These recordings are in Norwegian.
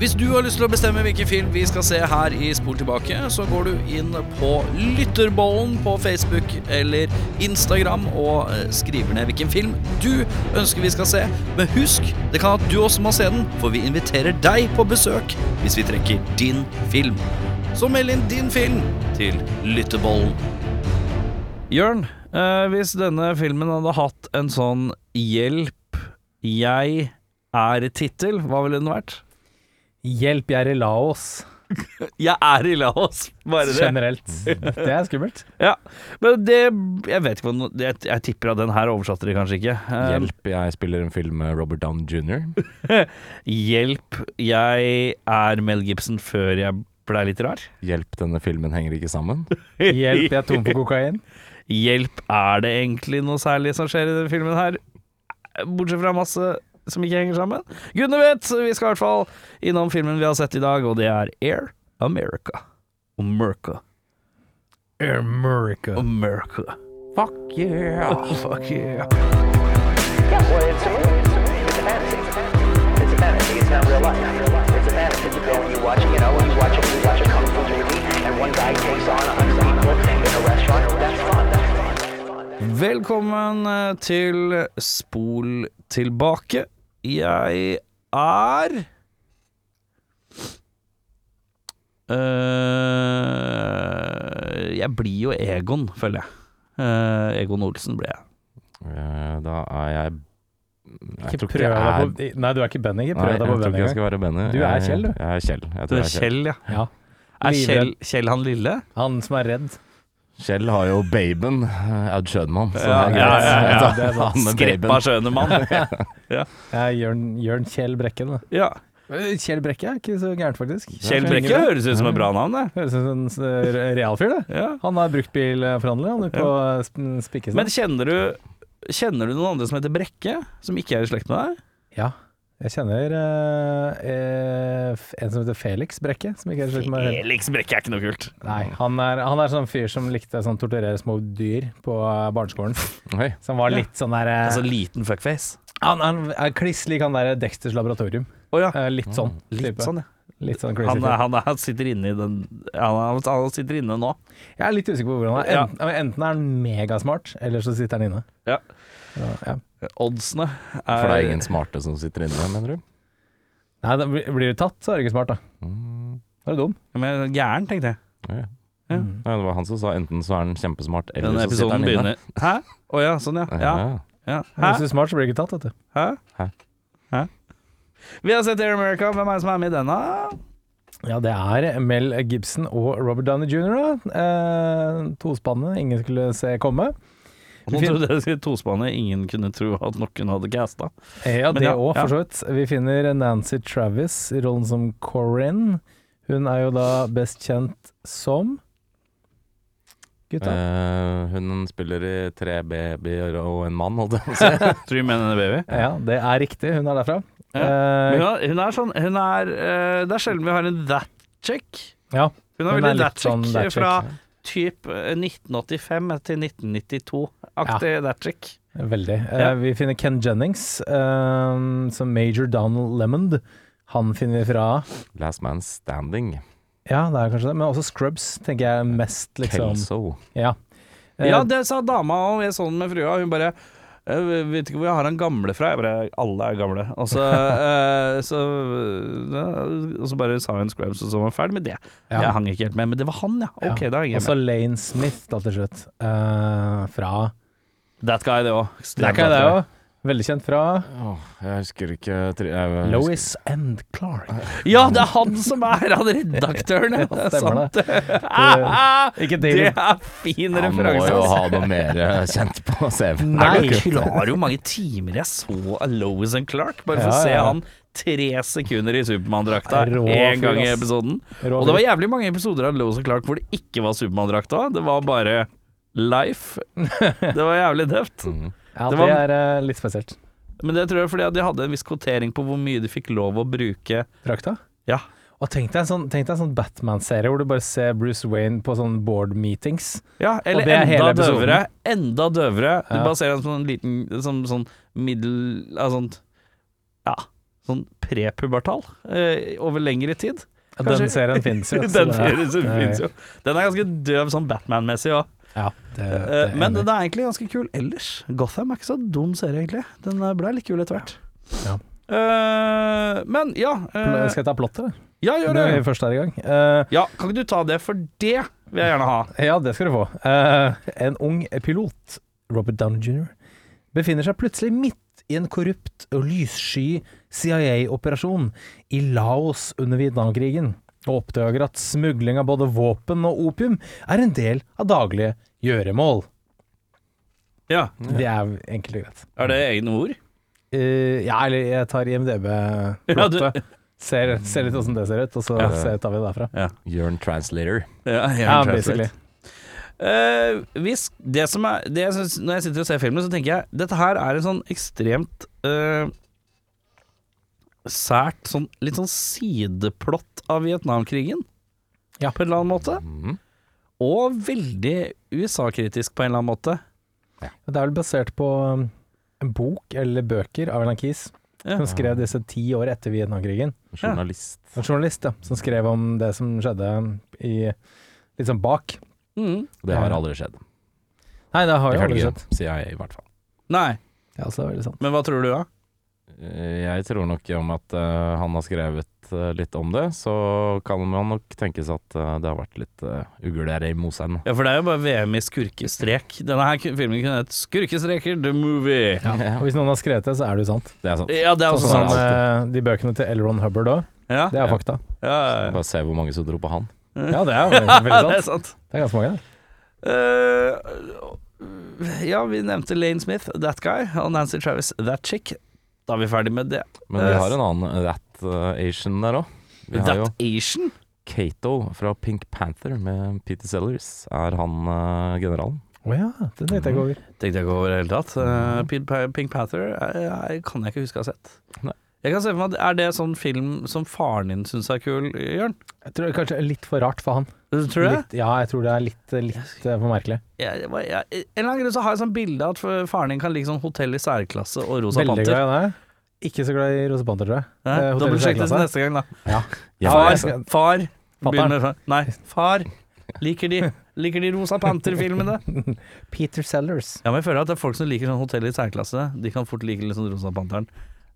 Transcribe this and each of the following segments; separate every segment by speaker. Speaker 1: Hvis du har lyst til å bestemme hvilken film vi skal se her i Spol tilbake, så går du inn på Lytterbollen på Facebook eller Instagram og eh, skriver ned hvilken film du ønsker vi skal se. Men husk, det kan at du også må se den, for vi inviterer deg på besøk hvis vi trekker din film. Så meld inn din film til Lytterbollen. Jørn, eh, hvis denne filmen hadde hatt en sånn 'Hjelp, jeg er'-tittel, hva ville den vært?
Speaker 2: Hjelp, jeg er i Laos.
Speaker 1: Jeg er i Laos, bare det.
Speaker 2: Generelt. Det er skummelt.
Speaker 1: Ja. Men det Jeg vet ikke hva no- jeg, jeg tipper at den her oversatte de kanskje ikke.
Speaker 2: Ehm,
Speaker 1: Eh,
Speaker 3: Hjelp, jeg spiller en film med Robert Down jr.
Speaker 1: hjelp, jeg er Mel Gibson før jeg blei litt rar.
Speaker 3: Hjelp, denne filmen henger ikke sammen.
Speaker 2: Hjelp, jeg er tom for kokain.
Speaker 1: Hjelp, er det egentlig noe særlig som skjer i denne filmen her? Bortsett fra masse som ikke henger sammen. Gudene vet, vi skal i hvert fall innom filmen vi har sett i dag, og det er Air America. America.
Speaker 2: America.
Speaker 1: America.
Speaker 3: Fuck yeah!
Speaker 1: Fuck yeah.
Speaker 4: Yeah, well, it's a movie. It's a movie. It's a fantasy. It's a fantasy. It's not real life. It's a fantasy. You go and you watch, you know, you watch, a, you watch a kung fu movie, and one guy takes on a hundred people in a restaurant. That's fun. That's fun.
Speaker 1: Velkommen eh, til Spol tilbake. Jeg er Eh, Jeg blir jo Egon, føler jeg. Eh, Egon Olsen ble jeg.
Speaker 3: Eh, Da er jeg Jeg
Speaker 2: Ikke
Speaker 3: tror
Speaker 2: prøv
Speaker 3: ikke jeg er
Speaker 2: deg på Nei, du er ikke Benny. Ikke
Speaker 3: Nei,
Speaker 2: prøv
Speaker 3: jeg
Speaker 2: deg på
Speaker 3: tror
Speaker 2: Benny
Speaker 3: ikke jeg
Speaker 2: engang.
Speaker 3: skal være Benny.
Speaker 2: Du er
Speaker 3: Jeg-
Speaker 2: Kjell, du.
Speaker 3: Jeg er Kjell. Jeg
Speaker 1: Du
Speaker 3: tror jeg
Speaker 1: er Kjell, ja.
Speaker 2: Ja.
Speaker 1: Er Kjell,
Speaker 2: Livredd.
Speaker 1: Kjell han lille?
Speaker 2: Han som er redd.
Speaker 3: Kjell har jo baben, eh, Aud Schødmann. Så
Speaker 1: Ja,
Speaker 3: det er greit.
Speaker 1: ja, ja, ja,
Speaker 3: Da-
Speaker 2: det er sant.
Speaker 3: han med
Speaker 1: Skreppa
Speaker 3: baben.
Speaker 1: skjønne mann.
Speaker 2: Jeg er Jørn, Jørn Kjell Brekken. da.
Speaker 1: Ja.
Speaker 2: Kjell Brekke er ikke så gærent, faktisk.
Speaker 1: Kjell Brekke høres ut som et bra navn, det.
Speaker 2: Høres ut som en s- re- realfyr, det.
Speaker 1: Ja.
Speaker 2: Han er bruktbilforhandler, han er på eh, sp- Spikkestad.
Speaker 1: Men kjenner du, kjenner du noen andre som heter Brekke, som ikke er i slekt med deg?
Speaker 2: Ja. Jeg kjenner eh, eh, f- en som heter Felix Brekke. Som ikke er slett med
Speaker 1: Felix Brekke er ikke noe kult.
Speaker 2: Nei, han er, han er sånn fyr som likte å sånn, torturere små dyr på eh, barneskolen.
Speaker 3: Oi.
Speaker 2: Som var litt sånn der eh,
Speaker 1: Altså liten fuckface.
Speaker 2: Han, han er kliss lik han der Dexters laboratorium.
Speaker 1: Å ja.
Speaker 2: Eh, litt sånn.
Speaker 1: Litt
Speaker 2: type.
Speaker 1: sånn, ja.
Speaker 2: Litt sånn crazy.
Speaker 1: Han,
Speaker 2: fyr.
Speaker 1: er, han, er, han sitter inne i den han, er, han sitter inne nå.
Speaker 2: Jeg er litt usikker på hvor han er.
Speaker 1: Ja.
Speaker 2: Enten, enten er han megasmart, eller så sitter han inne.
Speaker 1: Ja.
Speaker 2: Ja, ja.
Speaker 1: Oddsene
Speaker 3: For det er
Speaker 1: er
Speaker 3: ingen smarte som sitter inne, mener du?
Speaker 2: Nei, da blir blir du tatt, så er du ikke smart, da.
Speaker 3: Mm.
Speaker 2: Da er du dum.
Speaker 1: Men gæren, tenkte jeg.
Speaker 3: Ja.
Speaker 1: Ja.
Speaker 2: Mm.
Speaker 3: Nei, det var han som sa enten så er han kjempesmart, eller
Speaker 1: Denne
Speaker 3: så sitter
Speaker 1: episoden
Speaker 3: han inne.
Speaker 1: begynner Hæ? Å ja, sånn ja. ja.
Speaker 3: Ja.
Speaker 1: ja.
Speaker 2: Hvis
Speaker 1: Hæ?
Speaker 2: du er smart, så blir du ikke tatt, vet du.
Speaker 1: Hæ?
Speaker 3: Hæ?
Speaker 1: Hæ? Vi har sett Air America. Hvem er det som er med i denne?
Speaker 2: Ja, det er Mel Gibson og Robert Downey jr. da. Eh, tospannet ingen skulle se komme.
Speaker 1: Nå trodde jeg det skulle tospannet ingen kunne tro at noen hadde casta.
Speaker 2: Eh, ja,
Speaker 1: Men
Speaker 2: det
Speaker 1: ja,
Speaker 2: òg,
Speaker 1: ja.
Speaker 2: for så vidt. Vi finner Nancy Travis i rollen som Corinne. Hun er jo da best kjent som Gutta.
Speaker 3: Eh, hun spiller i tre babyer og en mann, holdt jeg på å si.
Speaker 1: Tror du mener baby?
Speaker 2: Ja, det er riktig. Hun er derfra.
Speaker 1: Ja.
Speaker 2: Eh,
Speaker 1: Men hun, hun er sånn Hun er eh, Det er sjelden vi har en that check.
Speaker 2: ja.
Speaker 1: Hun er
Speaker 2: Hun er
Speaker 1: veldig
Speaker 2: litt sånn
Speaker 1: Datchik
Speaker 2: Datchick,
Speaker 1: fra typ eh, 1985 til 1992-aktig Datchik.
Speaker 2: Veldig. Eh,
Speaker 1: Ja.
Speaker 2: vi finner Ken Jennings eh, som Major Donald Lemond. Han finner vi fra
Speaker 3: Last Man Standing.
Speaker 2: Ja, det er kanskje det, men også Scrubs tenker jeg er mest, liksom.
Speaker 3: Kelso.
Speaker 2: Ja. Eh,
Speaker 1: Ja, det sa dama, og jeg så den med frua. Hun bare jeg vet ikke hvor jeg har han gamle fra. Jeg bare Alle er gamle. Og så, eh, så, ja, og så bare sa hun Scrubs, og så var hun ferdig med det.
Speaker 2: Ja.
Speaker 1: Jeg hang ikke helt med, men det var han, ja.
Speaker 2: Eh,
Speaker 1: Ok, da henger jeg
Speaker 2: Også
Speaker 1: med.
Speaker 2: Lane Smith, da, til slutt. Eh, fra
Speaker 1: That guy, det òg.
Speaker 2: Det er ikke det òg. Veldig kjent fra
Speaker 3: Åh, jeg husker ikke tre, jeg, jeg husker-
Speaker 2: Lois and Clark.
Speaker 1: Ja, det er han som er han redaktøren, ja. Det er
Speaker 2: Stemmer
Speaker 1: sant. Ah,
Speaker 2: Ikke
Speaker 1: Det
Speaker 2: David.
Speaker 1: er fin
Speaker 3: Han må
Speaker 1: referanse.
Speaker 3: jo
Speaker 1: ass.
Speaker 3: ha noe mer eh, kjent på CV-en.
Speaker 1: Er du
Speaker 2: Nei.
Speaker 1: klar over hvor mange timer jeg så av Lois and Clark? Bare for
Speaker 2: Ja,
Speaker 1: å se
Speaker 2: ja.
Speaker 1: han tre sekunder i Supermann-drakta
Speaker 2: Rå
Speaker 1: én
Speaker 2: fyr,
Speaker 1: gang i
Speaker 2: ass.
Speaker 1: episoden.
Speaker 2: Rå
Speaker 1: Og det var
Speaker 2: fyr.
Speaker 1: jævlig mange episoder av Lois and Clark hvor det ikke var Supermann-drakta. Det var bare life. Det var jævlig døvt.
Speaker 3: Mm.
Speaker 2: ja,
Speaker 1: det
Speaker 2: det,
Speaker 1: var-
Speaker 2: er eh, litt spesielt.
Speaker 1: Men det tror jeg er fordi at de hadde en viss kvotering på hvor mye de fikk lov å bruke.
Speaker 2: Drakta?
Speaker 1: Ja.
Speaker 2: Og tenk deg en sånn, tenk deg en sånn Batman-serie hvor du bare ser Bruce Wayne på sånne board meetings.
Speaker 1: Ja, eller
Speaker 2: Og det
Speaker 1: enda
Speaker 2: er hele episoden.
Speaker 1: døvere. Enda døvere. Du
Speaker 2: Ja.
Speaker 1: bare ser en sånn liten sånn, sånn middel... Ja, sånt Ja, sånn
Speaker 5: prepubertal eh, over lengre tid.
Speaker 2: Ja, Den
Speaker 5: Kanskje-
Speaker 2: serien finnes jo. så
Speaker 5: Den
Speaker 2: det-
Speaker 5: serien som
Speaker 2: det er-
Speaker 5: finnes jo. Den er ganske døv sånn Batman-messig òg.
Speaker 2: Ja, det, det
Speaker 5: Eh,
Speaker 2: er
Speaker 5: Men
Speaker 2: enig.
Speaker 5: den er egentlig ganske kul ellers. Gotham er ikke så dum serie, egentlig. Den eh, ble litt kul etter hvert.
Speaker 2: Ja.
Speaker 5: Eh, men ja eh,
Speaker 2: Skal jeg ta plottet, eller?
Speaker 5: Ja, gjør det!
Speaker 2: Når vi først er i gang. Eh,
Speaker 5: Ja, kan ikke du ta det, for det vil jeg gjerne ha.
Speaker 2: Ja, det skal du få. Eh, en ung pilot, Robert Downey jr., befinner seg plutselig midt i en korrupt og lyssky CIA-operasjon i Laos under Vietnamkrigen, og oppdager at smugling av både våpen og opium er en del av daglige gjøremål.
Speaker 5: Ja.
Speaker 2: Det er enkelt og greit.
Speaker 5: Er det egne ord?
Speaker 2: Eh, ja, eller jeg tar
Speaker 5: Ja, du-
Speaker 2: IMDb-plottet. Ser, ser litt åssen det ser ut, og så
Speaker 3: Ja.
Speaker 2: ser- tar vi det derfra.
Speaker 3: Jørn Translator.
Speaker 5: Ja,
Speaker 2: Ja, basically.
Speaker 5: Eh, hvis det som er det jeg synes, Når jeg sitter og ser filmen, så tenker jeg dette her er en sånn ekstremt eh, sært sånn, Litt sånn sideplott av Vietnamkrigen,
Speaker 2: Ja.
Speaker 5: på en eller annen måte.
Speaker 3: Mhm.
Speaker 5: Og veldig USA-kritisk på en eller annen måte.
Speaker 2: Det er vel basert på um, en bok eller bøker av Alan Keys,
Speaker 5: Ja.
Speaker 2: som skrev disse ti år etter Vietnamkrigen.
Speaker 3: Journalist.
Speaker 2: En journalist ja, som skrev om det som skjedde um, i litt sånn bak.
Speaker 5: Mm.
Speaker 3: Det har aldri skjedd.
Speaker 2: Nei, det har jo aldri
Speaker 3: Ifølge
Speaker 2: skjedd.
Speaker 3: CIA, i hvert fall.
Speaker 5: Nei,
Speaker 2: Ja, så er det veldig sant.
Speaker 5: men hva tror du, da?
Speaker 3: Eh, Jeg tror nok om at eh, han har skrevet eh, litt om det, så kan man nok tenkes at eh, det har vært litt uh, ugler der i moseren.
Speaker 5: Ja, for det er jo bare VM i skurkestrek. Denne her ku- filmen kunne hett 'Skurkestreker the movie'.
Speaker 2: Ja. Og hvis noen har skrevet det, så er det jo sant.
Speaker 3: Det er sant.
Speaker 5: Ja, det er
Speaker 2: Sånn
Speaker 5: også
Speaker 2: som
Speaker 5: sant.
Speaker 2: eh, de bøkene til Elron Hubbard òg.
Speaker 5: Ja,
Speaker 2: Det er
Speaker 3: Ja.
Speaker 2: fakta.
Speaker 5: ja, ja, ja.
Speaker 3: Bare se hvor mange som dro på han.
Speaker 2: Ja, det er veldig,
Speaker 5: ja det
Speaker 2: veldig
Speaker 5: er
Speaker 2: sant.
Speaker 5: sant.
Speaker 2: Det er ganske mange, det.
Speaker 5: Eh, ja, vi nevnte Lane Smith, That Guy, og Nancy Travis, That Chick. Da er vi ferdig med det.
Speaker 3: Men vi har en annen That eh, Asian der òg. Vi har
Speaker 5: That
Speaker 3: jo
Speaker 5: Asian?
Speaker 3: Cato fra Pink Panther med Peter Sellers. Er han eh, generalen?
Speaker 2: Å ja, den tenkte jeg ikke over.
Speaker 5: Tenkte jeg ikke over i det hele tatt. Eh, Pink Pa- Pink Panther eh, eh, kan jeg ikke huske å ha sett.
Speaker 3: Nei.
Speaker 5: Jeg kan se for meg at Er det sånn film som faren din syns er kul, Jørn?
Speaker 2: Jeg tror det er kanskje er litt for rart for han.
Speaker 5: Tror du det?
Speaker 2: Litt, ja, jeg tror det er litt, litt eh, for merkelig.
Speaker 5: Jeg- jeg- jeg- En eller annen grunn så har jeg sånn bilde av at f- faren din kan like sånn Hotell i særklasse og Rosa
Speaker 2: Veldig
Speaker 5: Panter.
Speaker 2: glad i det. Ikke så glad i Rose Panter, tror jeg. Eh, Hotell
Speaker 5: Eh,
Speaker 2: i
Speaker 5: Dobbeltsjekk det til
Speaker 2: særklasse.
Speaker 5: neste gang, da.
Speaker 3: Ja,
Speaker 2: Ja,
Speaker 5: Far,
Speaker 2: jeg skal-
Speaker 5: far
Speaker 2: Fatteren.
Speaker 5: begynner, fra- Nei, far Liker de, liker de Rosa Panter-filmene?
Speaker 2: Peter Sellers.
Speaker 5: Ja, men jeg føler at det er folk som liker sånn hotell i særklasse. De kan fort like litt sånn Rosa Panteren.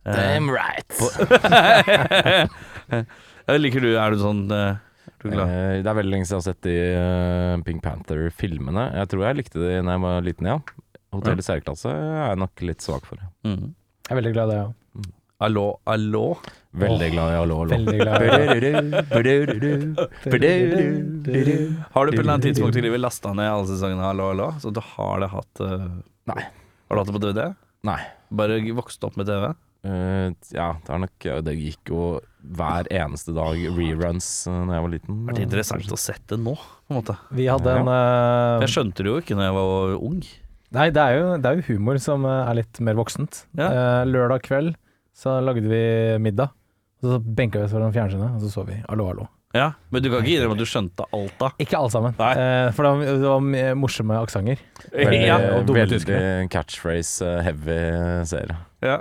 Speaker 5: Eh,
Speaker 3: Damn right!
Speaker 5: Ja, liker du Er du sånn eh, er du glad?
Speaker 3: Eh, Det er veldig lenge siden jeg har sett de eh, Pink Panther-filmene. Jeg tror jeg likte de da jeg var liten, ja. Hotell i særklasse er jeg nok litt svak for.
Speaker 5: Mm.
Speaker 2: Jeg er veldig glad i det, ja.
Speaker 5: Allå, allå?
Speaker 3: Veldig glad i Eh, Hallo,
Speaker 2: Veldig glad i det.
Speaker 3: hallo.
Speaker 5: Har du på et eller annet tidspunkt i livet lasta ned alle sesongene av Allå, allå? Så du har det hatt eh,
Speaker 3: Nei.
Speaker 5: Har du hatt det på DVD?
Speaker 3: Nei.
Speaker 5: Bare vokst opp med TV?
Speaker 3: Eh, ja, det er nok ja, Det gikk jo hver eneste dag reruns uh, da jeg var liten.
Speaker 5: Det vært interessant å sett det nå, på en måte.
Speaker 2: Vi hadde en eh,
Speaker 5: Jeg skjønte det jo ikke når jeg var ung.
Speaker 2: Nei, det er, jo, det er jo humor som eh, er litt mer voksent.
Speaker 5: Ja.
Speaker 2: Eh, lørdag kveld så lagde vi middag. Og så benka vi oss foran fjernsynet, og så så vi Hallo, hallo.
Speaker 5: Ja, Men du kan ikke innrømme at du skjønte alt da?
Speaker 2: Ikke alle sammen,
Speaker 5: Nei.
Speaker 2: eh, for det var, det var mye morsomme aksenter.
Speaker 3: Veldig,
Speaker 5: Ja.
Speaker 2: og dumme
Speaker 3: veldig
Speaker 2: tyskere.
Speaker 3: catchphrase-heavy serie.
Speaker 5: ja.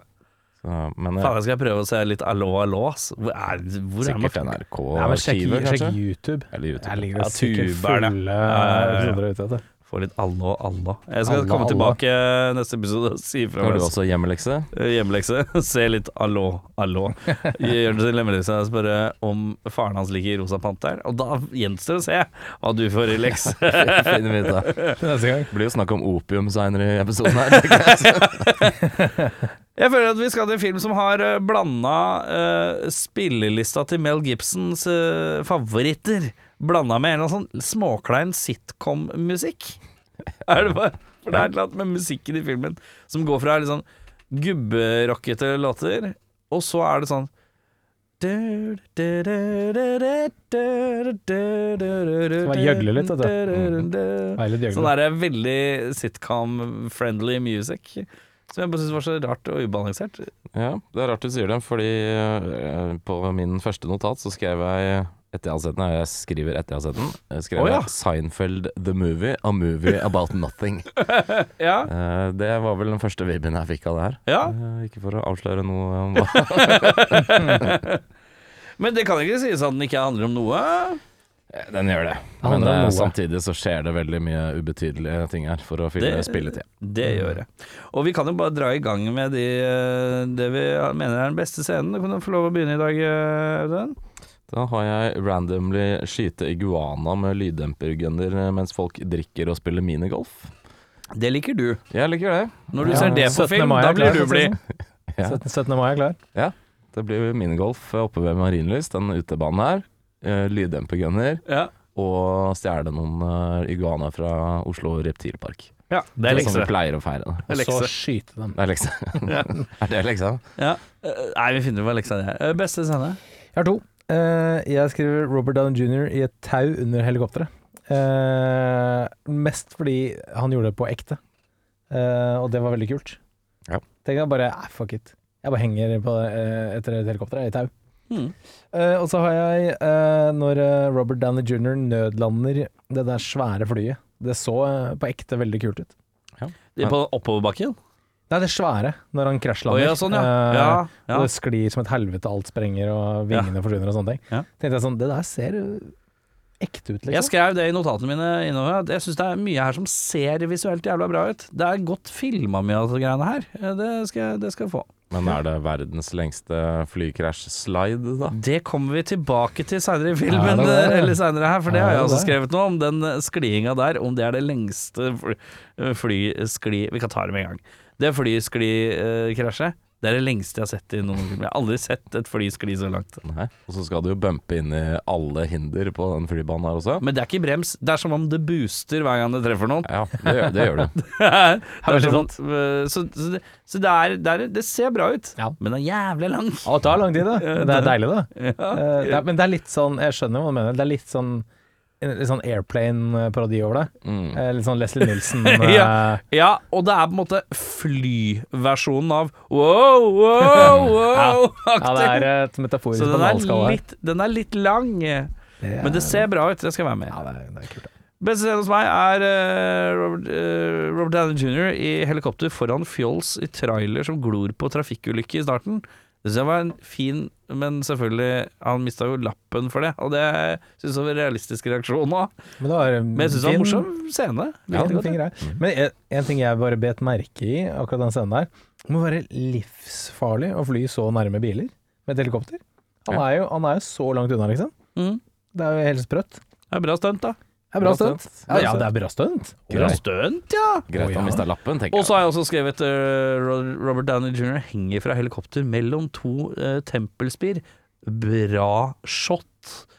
Speaker 3: Så, men eh,
Speaker 5: Faen, jeg skal prøve å se litt Allå, allå, ass. Hvor er, hvor er
Speaker 3: sikkert
Speaker 5: man?
Speaker 2: Nei, men sjekk,
Speaker 3: NRK-arkivet,
Speaker 2: sjekk
Speaker 3: kanskje?
Speaker 2: YouTube.
Speaker 3: Eller YouTube.
Speaker 2: Der ligger
Speaker 5: Ja,
Speaker 2: det sikkert
Speaker 5: tuber, det.
Speaker 2: fulle
Speaker 5: ja, ja.
Speaker 2: episoder ute etter.
Speaker 5: Få litt alle og alle. Jeg skal
Speaker 2: Alle,
Speaker 5: komme
Speaker 2: alle.
Speaker 5: tilbake neste episode og si fra
Speaker 3: Har
Speaker 5: meg Eh,
Speaker 3: du også hjemmelekse?
Speaker 5: hjemmelekse. Se litt allå, allå. Gjør det til hjemmelekse og spørre om faren hans liker Rosa Panter. Og da gjenstår det å se hva du får i lekse.
Speaker 3: Finner vi ut av.
Speaker 2: Til neste gang.
Speaker 3: Det blir jo snakk om opium seinere i episoden her. tenker jeg.
Speaker 5: Jeg føler at vi skal til en film som har eh, blanda eh, spillelista til Mel Gibsons eh, favoritter. Blanda med en eller annen sånn småklein sitcom-musikk. Er det bare For det er et eller annet med musikken i filmen som går fra litt sånn gubberockete låter, og så er det sånn Som
Speaker 2: man gjøgler litt, vet
Speaker 5: du.
Speaker 2: Veilet
Speaker 5: Sånn
Speaker 2: Jøgle.
Speaker 5: der er veldig sitcom-friendly music. Som jeg bare syns var så rart og ubalansert.
Speaker 3: Ja, det er rart du sier det, fordi eh, på min første notat så skrev jeg etter jeg har sett den, og jeg skriver etter jeg har sett den, jeg skrev
Speaker 5: Å, ja.
Speaker 3: jeg Seinfeld the movie, a movie about nothing.
Speaker 5: Ja,
Speaker 3: Eh, det var vel den første vibben jeg fikk av det her.
Speaker 5: ja.
Speaker 3: Eh, ikke for å avsløre noe om hva
Speaker 5: Men det kan ikke sies at den ikke handler om noe.
Speaker 3: Den gjør det.
Speaker 2: Ja,
Speaker 3: Men
Speaker 2: det er
Speaker 3: eh,
Speaker 2: noe.
Speaker 3: samtidig så skjer det veldig mye ubetydelige ting her for å fylle
Speaker 5: Det-
Speaker 3: spilletid.
Speaker 5: Det gjør det. Og vi kan jo bare dra i gang med de, eh, det vi mener er den beste scenen. Du kan jo få lov å begynne i dag, eh, Audun.
Speaker 3: Da har jeg randomly skyte iguana med lyddempergunner eh, mens folk drikker og spiller minigolf.
Speaker 5: Det liker du.
Speaker 3: Jeg liker det.
Speaker 5: Når du
Speaker 2: Ja,
Speaker 5: ser det på
Speaker 2: 17.
Speaker 5: film,
Speaker 2: mai er
Speaker 5: da blir
Speaker 2: klar,
Speaker 5: du blid.
Speaker 3: Ja.
Speaker 2: 17. 17. mai er klar.
Speaker 3: Det blir minigolf eh, oppe ved Marienlyst, den utebanen her. Eh, Lyddempergunner
Speaker 5: Ja.
Speaker 3: og stjele noen eh, iguana fra Oslo reptilpark.
Speaker 5: ja, det er
Speaker 3: er sånn
Speaker 5: lekse.
Speaker 3: vi pleier å feire det.
Speaker 5: Det er
Speaker 2: Og så
Speaker 5: lekse.
Speaker 2: skyte dem.
Speaker 3: Det er leksa. er det leksa?
Speaker 5: Ja. Eh, Nei, vi finner ut hva leksa er. Eh, Beste scene?
Speaker 2: Jeg har to. Eh, jeg skriver Robert Down Jr. i et tau under helikopteret. Eh, mest fordi han gjorde det på ekte, Eh, og det var veldig kult.
Speaker 3: Ja.
Speaker 2: Tenk jeg bare eh, fuck it. Jeg bare henger på, eh, etter et helikopter jeg, i tau.
Speaker 5: Mm.
Speaker 2: Eh, og så har jeg, eh, når eh, Robert Downey jr. nødlander det der svære flyet Det så eh, på ekte veldig kult ut.
Speaker 5: De på oppoverbakken?
Speaker 2: Nei, det svære, når han
Speaker 5: Å
Speaker 2: krasjlander.
Speaker 5: ja, sånn, ja.
Speaker 2: Eh,
Speaker 5: ja, ja.
Speaker 2: Og det sklir som et helvete, alt sprenger og vingene forsvinner og sånne ting.
Speaker 5: Ja.
Speaker 2: Tenkte jeg sånn, det der ser jo ekte ut,
Speaker 5: Jeg
Speaker 2: liksom.
Speaker 5: skrev det i notatene mine innover, at jeg syns det er mye her som ser visuelt jævla bra ut. Det er godt filma mye av disse greiene her. Eh, Det skal, jeg- det skal jeg få.
Speaker 3: Men er det verdens lengste flykrasj-slide, da?
Speaker 5: Det kommer vi tilbake til seinere i filmen,
Speaker 2: det det?
Speaker 5: eller senere her, for det har
Speaker 2: Er
Speaker 5: jeg
Speaker 2: det
Speaker 5: også
Speaker 2: det?
Speaker 5: skrevet noe om. Den skliinga der, om det er det lengste fly- flyskli Vi kan ta det med en gang. Det flysklikrasjet, det er det lengste jeg har sett i noen film. Jeg har aldri sett et fly skli så langt.
Speaker 3: Nei. Og så skal du jo bumpe inn i alle hinder på den flybanen her også.
Speaker 5: Men det er ikke brems, det er som om det booster hver gang det treffer noen.
Speaker 3: Ja, det gjør, det gjør du.
Speaker 5: Det er
Speaker 2: veldig
Speaker 5: sånn, øh, så så, det, så det, er, det, er, det ser bra ut,
Speaker 2: Ja.
Speaker 5: men det er jævlig langt.
Speaker 2: Å, det tar lang tid, da. Det er deilig, da.
Speaker 5: Ja.
Speaker 2: Eh, det er, men det er litt sånn, jeg skjønner hva du mener, det er litt sånn en litt sånn airplane-parodi over det.
Speaker 3: Mm.
Speaker 2: Eh, Litt sånn Leslie Nilsen. eh,
Speaker 5: Ja. Ja, og det er på en måte flyversjonen av wow, wow, wow.
Speaker 2: ja, det er et metaforisk
Speaker 5: Så den er,
Speaker 2: banalskala her.
Speaker 5: litt, den er litt lang,
Speaker 2: er-
Speaker 5: men det ser bra ut. Det skal jeg være med
Speaker 2: Ja,
Speaker 5: i.
Speaker 2: det er, det er kult. da.
Speaker 5: Beste scenen hos meg er eh, Robert, eh, Robert Downey jr. i helikopter foran fjols i trailer som glor på trafikkulykke i starten. Det synes jeg var en fin, men selvfølgelig Han mista jo lappen for det, og det syns jeg var en realistisk reaksjon òg.
Speaker 2: Men det var en
Speaker 5: Men jeg syns det var en
Speaker 2: fin-
Speaker 5: morsom scene.
Speaker 2: Ja,
Speaker 5: Likte
Speaker 2: det
Speaker 5: godt, jeg.
Speaker 2: er Men en, en ting jeg bare bet merke i akkurat den scenen der, det må være livsfarlig å fly så nærme biler med et helikopter. Han er jo, han er jo så langt unna, liksom.
Speaker 5: Mm.
Speaker 2: Det er jo helt sprøtt.
Speaker 5: Det er bra stunt, da.
Speaker 2: Det er bra stunt. Ja, ja, det er bra stunt.
Speaker 3: Bra
Speaker 2: Greit.
Speaker 5: Stunt, ja!
Speaker 3: Greit han mista lappen, tenker
Speaker 5: Og
Speaker 3: jeg.
Speaker 5: så har jeg også skrevet eh, Ro- Robert Downey jr. henger fra helikopter mellom to eh, tempelspir. Bra shot.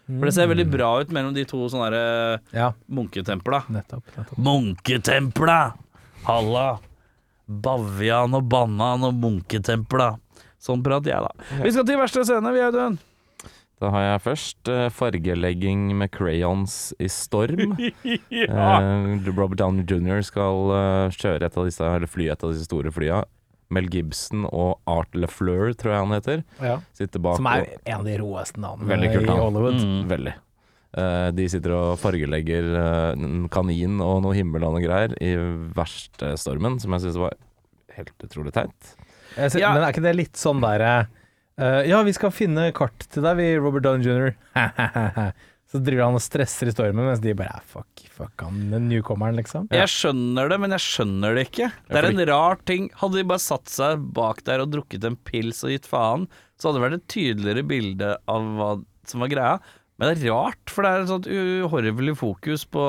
Speaker 5: For det ser
Speaker 2: Mm.
Speaker 5: veldig bra ut mellom de to sånne der, eh,
Speaker 2: Ja,
Speaker 5: munketempla.
Speaker 2: nettopp. nettopp.
Speaker 5: Munketempla! Halla! Bavian og banan og munketempla. Sånn prater jeg, da. Vi skal til verste scene, vi, Audun.
Speaker 3: Da har jeg først eh, fargelegging med crayons i storm. Eh, Robert Downey jr. skal eh, kjøre et av disse, eller fly et av disse store flya. Mel Gibson og Art LeFleur, tror jeg han heter,
Speaker 2: Ja.
Speaker 3: sitter bak.
Speaker 2: Som er
Speaker 3: og-
Speaker 2: en av de råeste navnene
Speaker 3: Veldig kult
Speaker 2: i
Speaker 3: Mm. navn.
Speaker 2: Hollywood.
Speaker 5: Mm.
Speaker 3: Veldig. Eh, de sitter og fargelegger eh, en kanin og noe himmel og noe greier i verste stormen, som jeg syns var helt utrolig teit.
Speaker 2: Jeg ser,
Speaker 5: Ja.
Speaker 2: Men er ikke det litt sånn derre Ja, vi skal finne kart til deg, vi, Robert Down jr. Så driver han og stresser i stormen, mens de bare "Ah, Fuck, fuck han den newcomeren, liksom.
Speaker 5: Jeg skjønner det, men jeg skjønner det ikke. Det er en rar ting. Hadde de bare satt seg bak der og drukket en pils og gitt faen, så hadde det vært et tydeligere bilde av hva som var greia. Men det er rart, for det er et sånt uhorvelig fokus på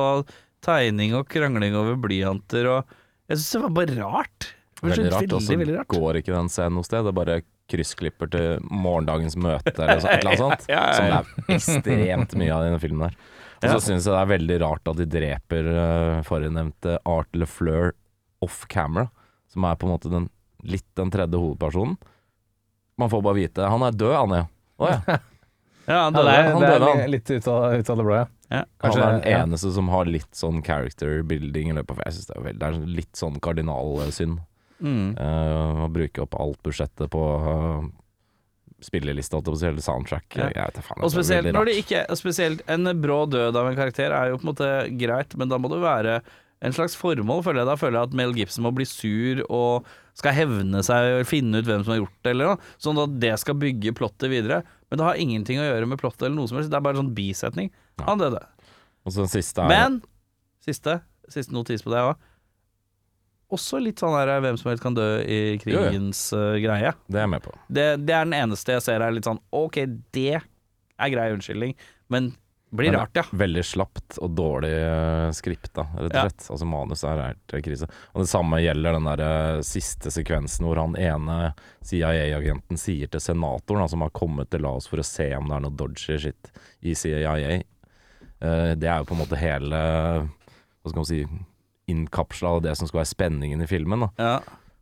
Speaker 5: tegning og krangling over blyanter og Jeg syns det var bare rart. Det var så
Speaker 3: Veldig rart. altså. Og så
Speaker 5: Veldig, veldig rart.
Speaker 3: går ikke den scenen noe sted. Det er bare kryssklipper til morgendagens møte eller så- et eller annet sånt.
Speaker 5: Ja, ja, ja.
Speaker 3: Som det er ekstremt mye av i denne filmen der. Og så syns jeg det er veldig rart at de dreper uh, forrige Art LeFleur off camera, som er på en måte den, litt den tredje hovedpersonen. Man får bare vite Han er død, han, ja. Å ja.
Speaker 5: Ja,
Speaker 2: Ja, det er,
Speaker 3: Han
Speaker 2: det er
Speaker 3: døde,
Speaker 2: li- litt ut av, ut av det blå, ja.
Speaker 5: Ja.
Speaker 3: Kanskje
Speaker 2: Han
Speaker 3: det
Speaker 2: er-
Speaker 3: er den eneste som har litt sånn character building i løpet av Jeg synes det er, veldig, det er litt sånn kardinalsynd
Speaker 5: Mm.
Speaker 3: eh, å bruke opp alt budsjettet på eh, spillelista, holdt jeg på å si, eller soundtrack.
Speaker 5: Ja.
Speaker 3: Jeg vet da faen,
Speaker 5: Og
Speaker 3: det er
Speaker 5: spesielt
Speaker 3: veldig
Speaker 5: når
Speaker 3: rart.
Speaker 5: det ikke og Spesielt en brå død av en karakter er jo på en måte greit, men da må det være en slags formål, føler jeg. Da føler jeg at Mel Gibson må bli sur og skal hevne seg og finne ut hvem som har gjort det, eller noe. Sånn at det skal bygge plottet videre. Men det har ingenting å gjøre med plottet eller noe som helst. Det er bare en sånn bisetning. Han døde.
Speaker 3: Og så den siste er
Speaker 5: Men siste, siste notis på deg òg. Også litt sånn her hvem som helst kan dø i krigens eh, greie.
Speaker 3: Det er jeg med på.
Speaker 5: Det, det er den eneste jeg ser er litt sånn Ok, det er grei unnskyldning, men blir
Speaker 3: Men-
Speaker 5: rart, ja.
Speaker 3: Veldig slapt og dårlig eh, skripta, rett og
Speaker 5: Ja.
Speaker 3: slett. Altså Manus er helt krise. Og det samme gjelder den der eh, siste sekvensen hvor han ene CIA-agenten sier til senatoren, da, som har kommet til Laos for å se om det er noe dodgy shit i CIA eh, Det er jo på en måte hele Hva skal man si innkapsla av det som skal være spenningen i filmen. da
Speaker 5: ja.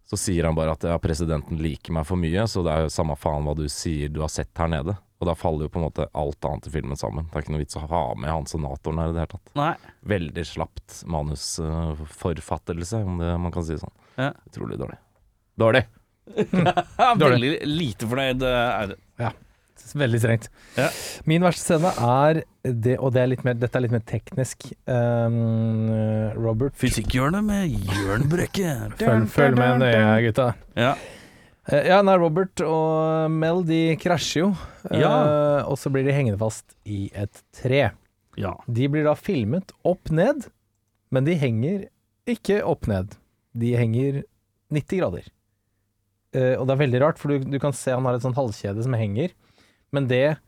Speaker 3: så sier han bare at ja, presidenten liker meg for mye, så det er jo samme faen hva du sier du har sett her nede. Og da faller jo på en måte alt annet i filmen sammen. Det er ikke noe vits å ha med han senatoren her i det hele tatt.
Speaker 5: Nei.
Speaker 3: Veldig slapt manusforfattelse, om det man kan si sånn.
Speaker 5: Ja.
Speaker 3: Utrolig dårlig. Dårlig!
Speaker 5: Veldig lite fornøyd, eh, Audun.
Speaker 2: Veldig strengt.
Speaker 5: Ja.
Speaker 2: Min verste scene er det, og det er litt mer, dette er litt mer teknisk. Um, Robert,
Speaker 5: Fysikkhjørnet med Jørn Brekke.
Speaker 2: følg, følg med nøye, gutta.
Speaker 5: Ja.
Speaker 2: Eh, Ja, nei, Robert og Mel de krasjer jo, eh,
Speaker 5: Ja.
Speaker 2: og så blir de hengende fast i et tre.
Speaker 5: ja.
Speaker 2: De blir da filmet opp ned, men de henger ikke opp ned. De henger 90 grader. Eh, og det er veldig rart, for du, du kan se han har et sånt halskjede som henger, men det,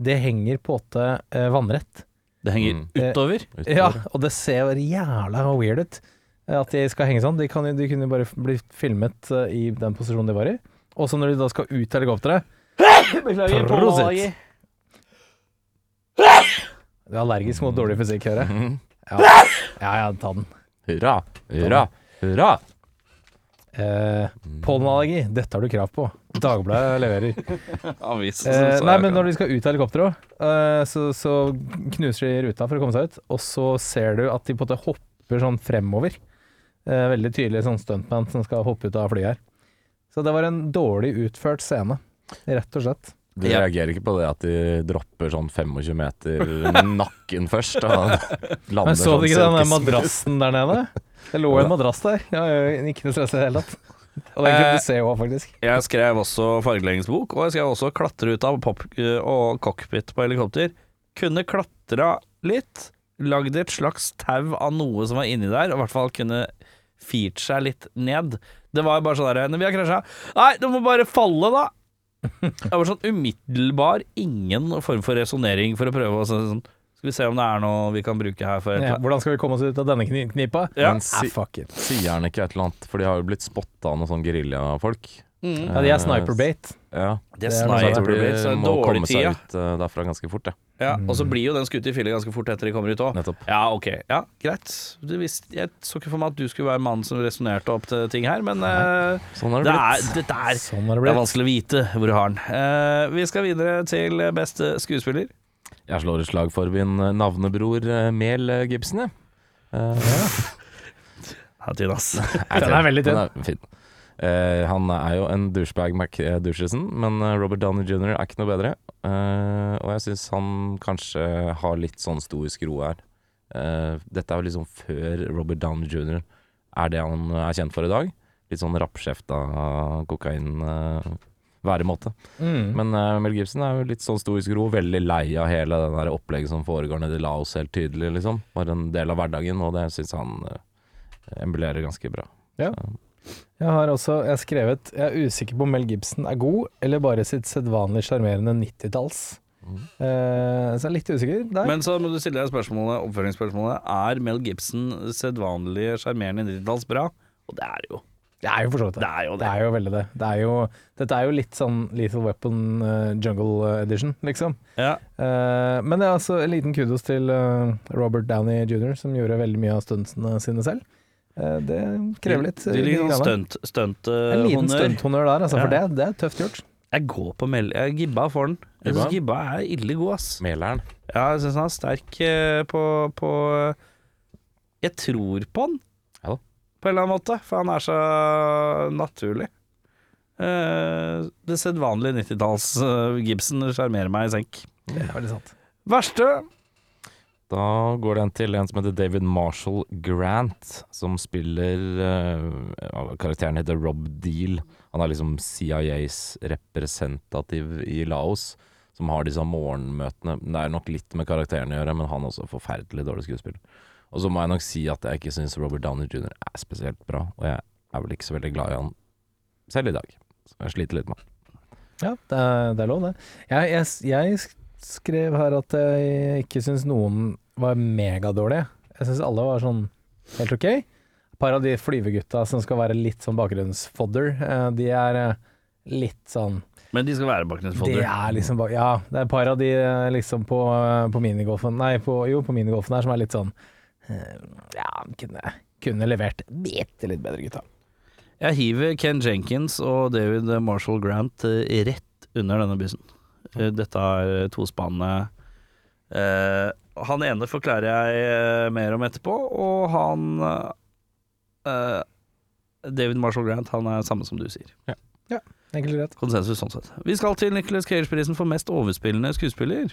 Speaker 2: det henger på en måte eh, vannrett.
Speaker 5: Det henger
Speaker 3: Mm.
Speaker 5: utover.
Speaker 3: Utover.
Speaker 2: Ja, og det ser jævla weird ut eh, at de skal henge sånn. De, kan, jo- de kunne jo bare bli filmet eh, i den posisjonen de var i. Og så når de da skal ut av helikopteret Prosit.
Speaker 5: Beklager, pålage.
Speaker 2: Det er allergisk mot dårlig fysikk, hører jeg.
Speaker 3: Mhm.
Speaker 2: Ja. ja, ja, ta den.
Speaker 3: Hurra! Hurra! Hurra!
Speaker 2: Eh, Pollenallergi, dette har du krav på. Dagbladet leverer.
Speaker 5: Avis.
Speaker 2: Eh, nei, men når de skal ut av helikopteret òg, eh, så, så knuser de ruta for å komme seg ut. Og så ser du at de på en måte hopper sånn fremover. Eh, veldig tydelig sånn stuntman som skal hoppe ut av flyet her. Så det var en dårlig utført scene, rett og slett.
Speaker 3: Du
Speaker 5: Ja.
Speaker 3: reagerer ikke på det at de dropper sånn 25 meter nakken først? Og lander
Speaker 2: Men så
Speaker 3: sånn
Speaker 2: du ikke den der
Speaker 3: silkesmooth.
Speaker 2: madrassen der nede? Det lå en madrass der. Ja, ja, ikke noe stress i det hele tatt. Og
Speaker 5: Eh,
Speaker 2: den kunne du se òg, faktisk.
Speaker 5: Jeg skrev også fargeleggingsbok, og jeg skrev også klatre ut av pop eh, og cockpit på helikopter. Kunne klatra litt, lagd et slags tau av noe som var inni der, og i hvert fall kunne firt seg litt ned. Det var bare sånn der Når vi har krasja Nei, du må bare falle, da! Det var sånn umiddelbar ingen form for resonnering for å prøve å sånn, Skal vi se om det er noe vi kan bruke her for
Speaker 2: Ja,
Speaker 5: et eller annet.
Speaker 2: hvordan skal vi komme oss ut av denne kni- knipa?
Speaker 5: Ja.
Speaker 3: Men si-
Speaker 2: Ah, fuck it.
Speaker 3: Sier han ikke et eller annet? For de har jo blitt spotta av noen sånn geriljafolk.
Speaker 5: Mm.
Speaker 2: Ja, de er sniper-bait.
Speaker 3: Ja.
Speaker 2: Det
Speaker 5: Det
Speaker 2: er noe
Speaker 3: Så
Speaker 2: Nei,
Speaker 3: jeg tror de
Speaker 5: så det er
Speaker 3: må
Speaker 5: dårlig
Speaker 3: komme
Speaker 5: tid,
Speaker 3: seg
Speaker 5: ja.
Speaker 3: ut Mm. eh, derfra ganske fort, ja.
Speaker 5: ja. Og så blir jo den skutt i filler ganske fort etter de kommer ut òg.
Speaker 3: Nettopp.
Speaker 5: Ja, ok. Ja, greit. Du visste, jeg så ikke for meg at du skulle være mannen som resonnerte opp til ting her, men eh,
Speaker 3: Sånn har
Speaker 5: det,
Speaker 3: det
Speaker 5: er,
Speaker 3: blitt.
Speaker 5: det, er,
Speaker 2: Sånn har det
Speaker 5: det er
Speaker 2: blitt.
Speaker 5: vanskelig å vite hvor du har den. Eh, vi skal videre til beste skuespiller.
Speaker 3: Jeg slår et slag for min eh, navnebror eh, Mel eh, Gibson, jeg. Eh,
Speaker 5: Ja, tynn, ass.
Speaker 2: Den er veldig tynn.
Speaker 3: Den er fin. Eh, han er jo en douchebag McDouchesen, men eh, Robert Downey jr. er ikke noe bedre. Eh, og jeg syns han kanskje har litt sånn stoisk ro her. Eh, dette er jo liksom før Robert Downey jr. er det han er kjent for i dag. Litt sånn rappskjefta eh, kokain-væremåte.
Speaker 2: Mm.
Speaker 3: Men eh, Mel Gibson er jo litt sånn stoisk ro, veldig lei av hele den der opplegget som foregår nede i Laos, helt tydelig, liksom. Bare en del av hverdagen, og det syns han uh, embulerer ganske bra.
Speaker 2: Jeg har også jeg har skrevet Jeg er usikker på om Mel Gibson er god, eller bare sitt sedvanlig sjarmerende 90-talls. Eh, så jeg er litt usikker der.
Speaker 5: Mm. Men så må du stille deg spørsmålet, oppfølgingsspørsmålet Er Mel Gibson sedvanlig sjarmerende 90-talls bra? Og det er det jo.
Speaker 2: det er jo for så vidt det.
Speaker 5: Det er jo
Speaker 2: Det
Speaker 5: det.
Speaker 2: er jo veldig det. det er jo, dette er jo litt sånn Lethal Weapon eh, Jungle Edition, liksom.
Speaker 5: Ja.
Speaker 2: Eh, men det er altså en liten kudos til eh, Robert Downey jr., som gjorde veldig mye av stuntsene sine selv. Eh, det krever litt. eh,
Speaker 5: Det er litt sånn stunt, stunt, eh,
Speaker 2: en liten
Speaker 5: honnør.
Speaker 2: stunthonnør der, altså, for
Speaker 5: Ja.
Speaker 2: det, det er tøft gjort.
Speaker 5: Jeg går på Mel... Jeg gibba for den. Jeg synes
Speaker 3: Gibba?
Speaker 5: gibba er ille god, ass.
Speaker 3: Meleren.
Speaker 5: Ja, jeg syns han er sterk eh, på, på Jeg tror på han,
Speaker 3: Ja da.
Speaker 5: på en eller annen måte. For han er så naturlig. eh, det sedvanlige 90-talls eh, Gibson sjarmerer meg i senk.
Speaker 2: Det er veldig sant.
Speaker 5: Verste
Speaker 3: Da går den til en som heter David Marshall Grant, som spiller eh, Karakteren heter Rob Deal. Han er liksom CIAs representativ i Laos, som har disse morgenmøtene. Det er nok litt med karakteren å gjøre, men han er også forferdelig dårlig skuespill. Og så må jeg nok si at jeg ikke syns Robert Downey jr. er spesielt bra, og jeg er vel ikke så veldig glad i han selv i dag. Så jeg sliter litt med han.
Speaker 2: Ja, det er, det er lov, det. Jeg, jeg, jeg sk- skrev her at jeg ikke syns noen var megadårlige. Jeg syns alle var sånn helt ok. Et par av de flyvegutta som skal være litt sånn bakgrunnsfodder, eh, de er eh, litt sånn
Speaker 5: Men de skal være bakgrunnsfolder.
Speaker 2: Det er liksom bare Ja, det er et par av de eh, liksom på, eh, på minigolfen Nei, på, jo, på minigolfen her som er litt sånn eh, Ja, kunne, kunne levert bitte litt bedre, gutta.
Speaker 5: Jeg hiver Ken Jenkins og David Marshall Grant eh, rett under denne bussen. Eh, Dette er tospannet eh, Han ene forklarer jeg eh, mer om etterpå, og han eh, David Marshall Grant han er samme som du sier.
Speaker 2: Enkelt og greit.
Speaker 5: Konsensus sånn sett. Vi skal til Nicholas Cage-prisen for mest overspillende skuespiller.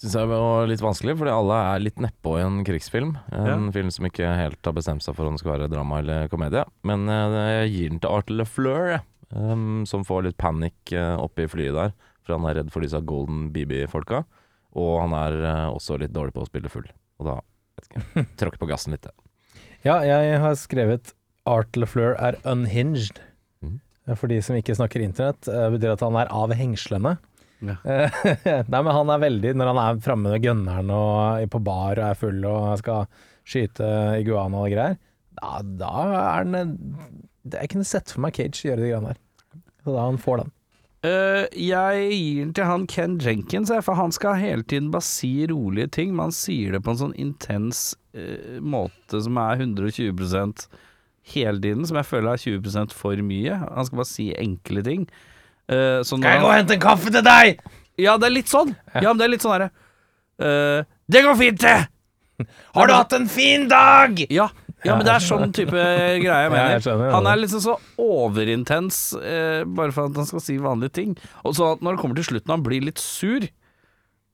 Speaker 3: Syns jeg var litt vanskelig, fordi alle er litt nedpå i en krigsfilm. En film som ikke helt har bestemt seg for om det skal være drama eller komedie. Men eh, jeg gir den til Art LeFleur, jeg, em, som får litt panikk eh, oppe i flyet der. For han er redd for disse Golden BB-folka. Og han er eh, også litt dårlig på å spille full. Og da vet ikke, tråkker på gassen litt. jeg.
Speaker 2: Ja, jeg har skrevet Art LeFleur er unhinged. Eh,
Speaker 3: Mhm.
Speaker 2: For de som ikke snakker internett, eh, betyr at han er av hengslene.
Speaker 5: Ja.
Speaker 2: Eh, Nei, men han er veldig Når han er framme med gunneren og er på bar og er full og skal skyte iguana og greier, da, da er han det- Jeg kunne sett for meg Cage gjøre de greiene der. Så da han får den.
Speaker 5: Eh, jeg gir den til han Ken Jenkins, jeg, for han skal hele tiden bare si rolige ting, men han sier det på en sånn intens eh, måte som er 120 hele tiden, som jeg føler er 20 for mye. Han skal bare si enkle ting. Eh, så når han-
Speaker 2: hente en kaffe til deg?!
Speaker 5: Ja, det er litt sånn. Ja, men det er litt sånn herre eh, Det går fint, det!
Speaker 2: Har du hatt en fin dag?!
Speaker 5: Ja, ja, men det er sånn type greie jeg
Speaker 2: Ja, jeg
Speaker 5: mener.
Speaker 2: skjønner, ja.
Speaker 5: han er liksom så overintens eh, bare for at han skal si vanlige ting. Og så at når det kommer til slutten og han blir litt sur,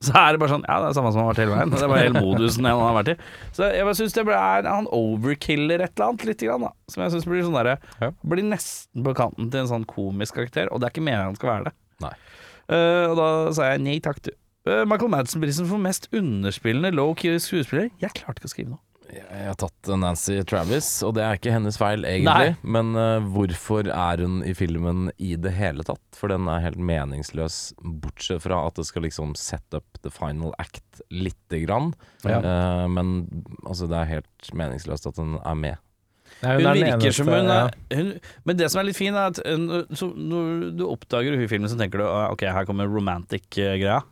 Speaker 5: så er det bare sånn Ja, det er samme som han har vært hele veien. Det er bare hele modusen han har vært i. Så jeg bare syns det ble, er, han overkiller et eller annet lite grann, da. Som jeg syns blir sånn derre
Speaker 3: Ja.
Speaker 5: Blir nesten på kanten til en sånn komisk karakter, og det er ikke meningen han skal være det.
Speaker 3: Nei.
Speaker 5: Eh, og da sa jeg nei takk, du. Eh, Michael Madsen-prisen for mest underspillende low-key skuespiller. Jeg klarte ikke å skrive noe.
Speaker 3: Jeg jeg har tatt Nancy Travis, og det er ikke hennes feil egentlig. Men eh, hvorfor er hun i filmen i det hele tatt? For den er helt meningsløs, bortsett fra at det skal liksom set up the final act lite grann.
Speaker 2: Ja.
Speaker 3: Eh, men altså, det er helt meningsløst at hun er med.
Speaker 5: Hun virker som hun, er, hun Men det som er litt fin, er at hun, så når du oppdager hun i filmen, så tenker du «Ah, ok, her kommer romantic-greia.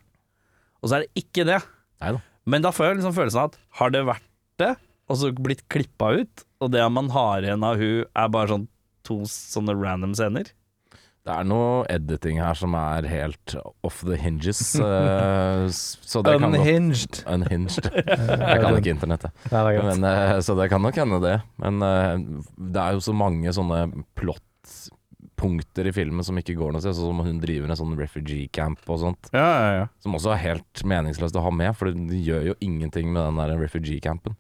Speaker 5: Og så er det ikke det.
Speaker 3: Neida.
Speaker 5: Men da får jeg liksom følelsen av at har det vært det, og så blitt klippa ut, og det man har igjen av hun er bare sånn to sånne random scener.
Speaker 3: Det er noe editing her som er helt off the hinges. eh, s- så det kan godt
Speaker 2: Unhinged.
Speaker 3: Unhinged. Jeg kan ikke internettet.
Speaker 2: Nei, det er greit.
Speaker 3: Men, eh, så det kan nok hende det. Men eh, det er jo så mange sånne plottpunkter i filmen som ikke går noe sted. Sånn som hun driver en sånn refugee camp og sånt,
Speaker 5: Ja, ja, ja.
Speaker 3: som også er helt meningsløst å ha med, for det gjør jo ingenting med den der refugee campen.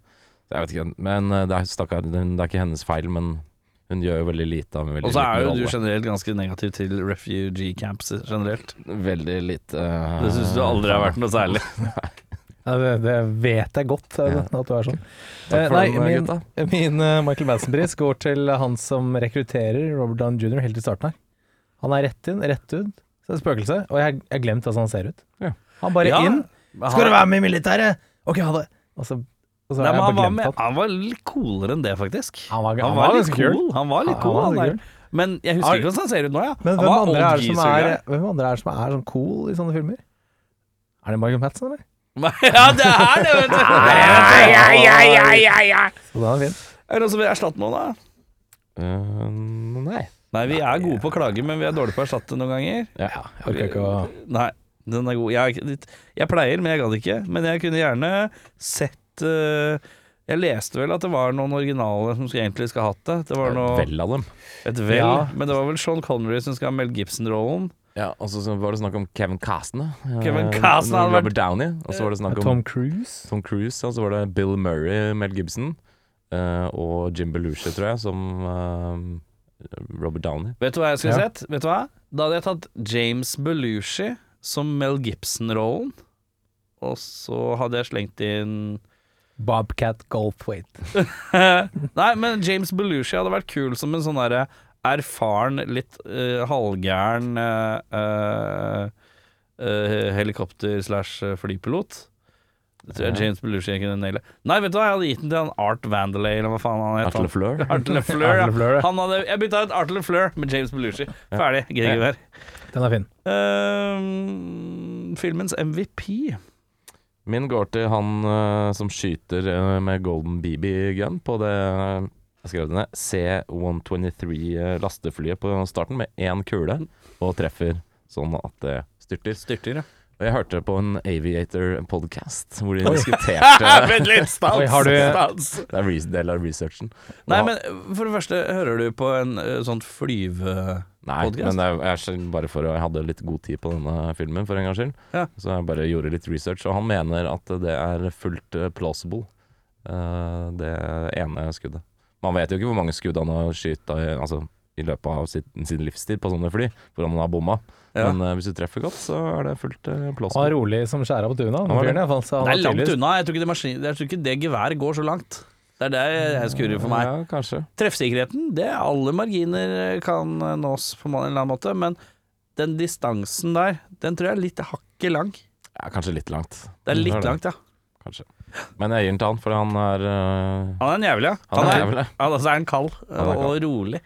Speaker 3: Så Jeg vet ikke, men eh, det er, stakkar, det er ikke hennes feil, men hun gjør jo veldig lite av en veldig
Speaker 5: Og så
Speaker 3: liten
Speaker 5: er jo du
Speaker 3: rolle.
Speaker 5: generelt ganske negativ til refugee camps generelt.
Speaker 3: Veldig lite eh,
Speaker 5: Det syns du aldri har vært noe særlig.
Speaker 2: Ja, det, det vet jeg godt,
Speaker 3: Ja.
Speaker 2: at du er sånn.
Speaker 3: Takk
Speaker 2: Eh,
Speaker 3: for den,
Speaker 2: min,
Speaker 3: gutta.
Speaker 2: min eh, Michael Madsen-pris går til han som rekrutterer Robert Down jr. helt i starten her. Han er rett inn, rett ut. Så er det spøkelse. Og jeg jeg har glemt hvordan han ser ut.
Speaker 3: Ja.
Speaker 2: Han bare
Speaker 5: Ja,
Speaker 2: inn.
Speaker 5: men
Speaker 2: Skal
Speaker 5: han-
Speaker 2: du være med i militæret? Ok, ha det. Og så, og så
Speaker 5: Nei,
Speaker 2: har jeg
Speaker 5: men han,
Speaker 2: bare
Speaker 5: var
Speaker 2: glemt
Speaker 5: med,
Speaker 2: at
Speaker 5: han var litt coolere enn det, faktisk.
Speaker 2: Han var- han
Speaker 5: han
Speaker 2: var
Speaker 5: var litt
Speaker 2: ganske kul.
Speaker 5: cool. Han var litt
Speaker 2: Han-
Speaker 5: cool,
Speaker 2: han
Speaker 5: han
Speaker 2: var
Speaker 5: der.
Speaker 2: litt
Speaker 5: Men jeg
Speaker 2: Har-
Speaker 5: husker ikke hvordan han ser ut nå, ja.
Speaker 2: Men
Speaker 5: Han
Speaker 2: hvem
Speaker 5: var
Speaker 2: andre,
Speaker 5: old
Speaker 2: er det som er,
Speaker 5: geezer-greie.
Speaker 2: hvem andre er det som er sånn cool i sånne filmer? Er det Michael Madsen, eller?
Speaker 5: Ja, det er det, vet du!
Speaker 2: Så da er han fin.
Speaker 5: Er det noen som vil erstatte noen, da?
Speaker 3: Eh, nei.
Speaker 5: Nei, vi er gode på å klage, men vi er dårlige på å erstatte noen ganger.
Speaker 3: Ja.
Speaker 2: Jeg orker ikke å
Speaker 5: Nei, den er god. Jeg, er ikke- jeg pleier, men jeg gadd ikke. Men jeg kunne gjerne sett eh, Jeg leste vel at det var noen originale som skulle- egentlig skulle hatt det. Det var noe,
Speaker 3: Vel av dem.
Speaker 5: et vel,
Speaker 2: Ja.
Speaker 5: Men det var vel Sean Connery som skal ha Mel Gibson-rollen.
Speaker 3: Ja, og så var det snakk om Kevin Costner. eh,
Speaker 5: Kevin Costner hadde vært-
Speaker 3: Robert Downey. Og så var det snakk om Tom,
Speaker 2: Tom Cruise?
Speaker 3: Cruise. Og så var det Bill Murray, Mel Gibson eh, og Jim Belushi, tror jeg, som eh, Robert Downey.
Speaker 5: Vet du hva jeg skulle
Speaker 2: Ja.
Speaker 5: sett? Vet du hva? Da hadde jeg tatt James Belushi som Mel Gibson-rollen. Og så hadde jeg slengt inn
Speaker 2: Bobcat Goldthwait.
Speaker 5: Nei, men James Belushi hadde vært kul som en sånn derre erfaren, litt eh, halvgæren eh, eh, eh, helikopter-slash-flypilot. Det tror jeg James Belushi kunne naile. Nei, vet du hva, jeg hadde gitt den til han Art Vandelay, eller hva faen han het.
Speaker 3: Atle
Speaker 5: han.
Speaker 3: Fleur.
Speaker 5: Art Lefleur.
Speaker 2: Art Lefleur,
Speaker 5: Ja.
Speaker 2: ja.
Speaker 5: Han hadde, jeg bytta ut Art Lefleur med James Belushi. Ferdig. Gidder ikke mer.
Speaker 2: Den er fin.
Speaker 5: Ehm, filmens MVP.
Speaker 3: Min går til han eh, som skyter eh, med golden BB-gun på det eh, jeg skrev det ned, C-123-lasteflyet eh, på starten med én kule, og treffer sånn at det styrter.
Speaker 5: Styrter, ja.
Speaker 3: Og jeg hørte på en Aviator-podkast hvor de diskuterte
Speaker 5: Vent litt, stans!
Speaker 2: Oi, har du-
Speaker 3: Det er en del av researchen.
Speaker 5: Nei,
Speaker 3: Og-
Speaker 5: men for det første, hører du på en eh, sånn flyve...
Speaker 3: Nei,
Speaker 5: podcast?
Speaker 3: men jeg, jeg, skjønner bare for, å- jeg hadde litt god tid på denne filmen for en gangs skyld.
Speaker 5: Ja.
Speaker 3: Så jeg bare gjorde litt research, og han mener at det er fullt eh, plausible, eh, det ene skuddet. Man vet jo ikke hvor mange skudd han har skutt i, altså, i løpet av sitt, sin livstid på sånne fly, hvor han har bomma.
Speaker 5: Ja.
Speaker 3: Men eh, hvis du treffer godt, så er det fullt eh,
Speaker 2: Han var
Speaker 3: plausible.
Speaker 2: rolig som skjæra på tuna.
Speaker 3: var
Speaker 2: Han,
Speaker 3: det.
Speaker 2: fyren, i hvert fall, så han
Speaker 5: Det er
Speaker 2: var
Speaker 5: langt
Speaker 2: tydeligvis-
Speaker 5: unna. Jeg tror ikke det, maskin, jeg tror ikke det geværet går så langt. Det er det jeg skurrer for meg.
Speaker 3: Ja, kanskje.
Speaker 5: Treffsikkerheten, det er alle marginer eh, kan nås på en eller annen måte, men den distansen der, den tror jeg er litt hakket lang.
Speaker 3: Ja, kanskje litt langt.
Speaker 5: Det
Speaker 3: Ja,
Speaker 5: er
Speaker 3: det-
Speaker 5: litt langt, ja.
Speaker 3: Kanskje. Men jeg gir den til han, for han er eh,
Speaker 5: Han er en jævla.
Speaker 3: Han er jævla.
Speaker 5: Ja, altså er han kald
Speaker 3: Han er
Speaker 5: og rolig.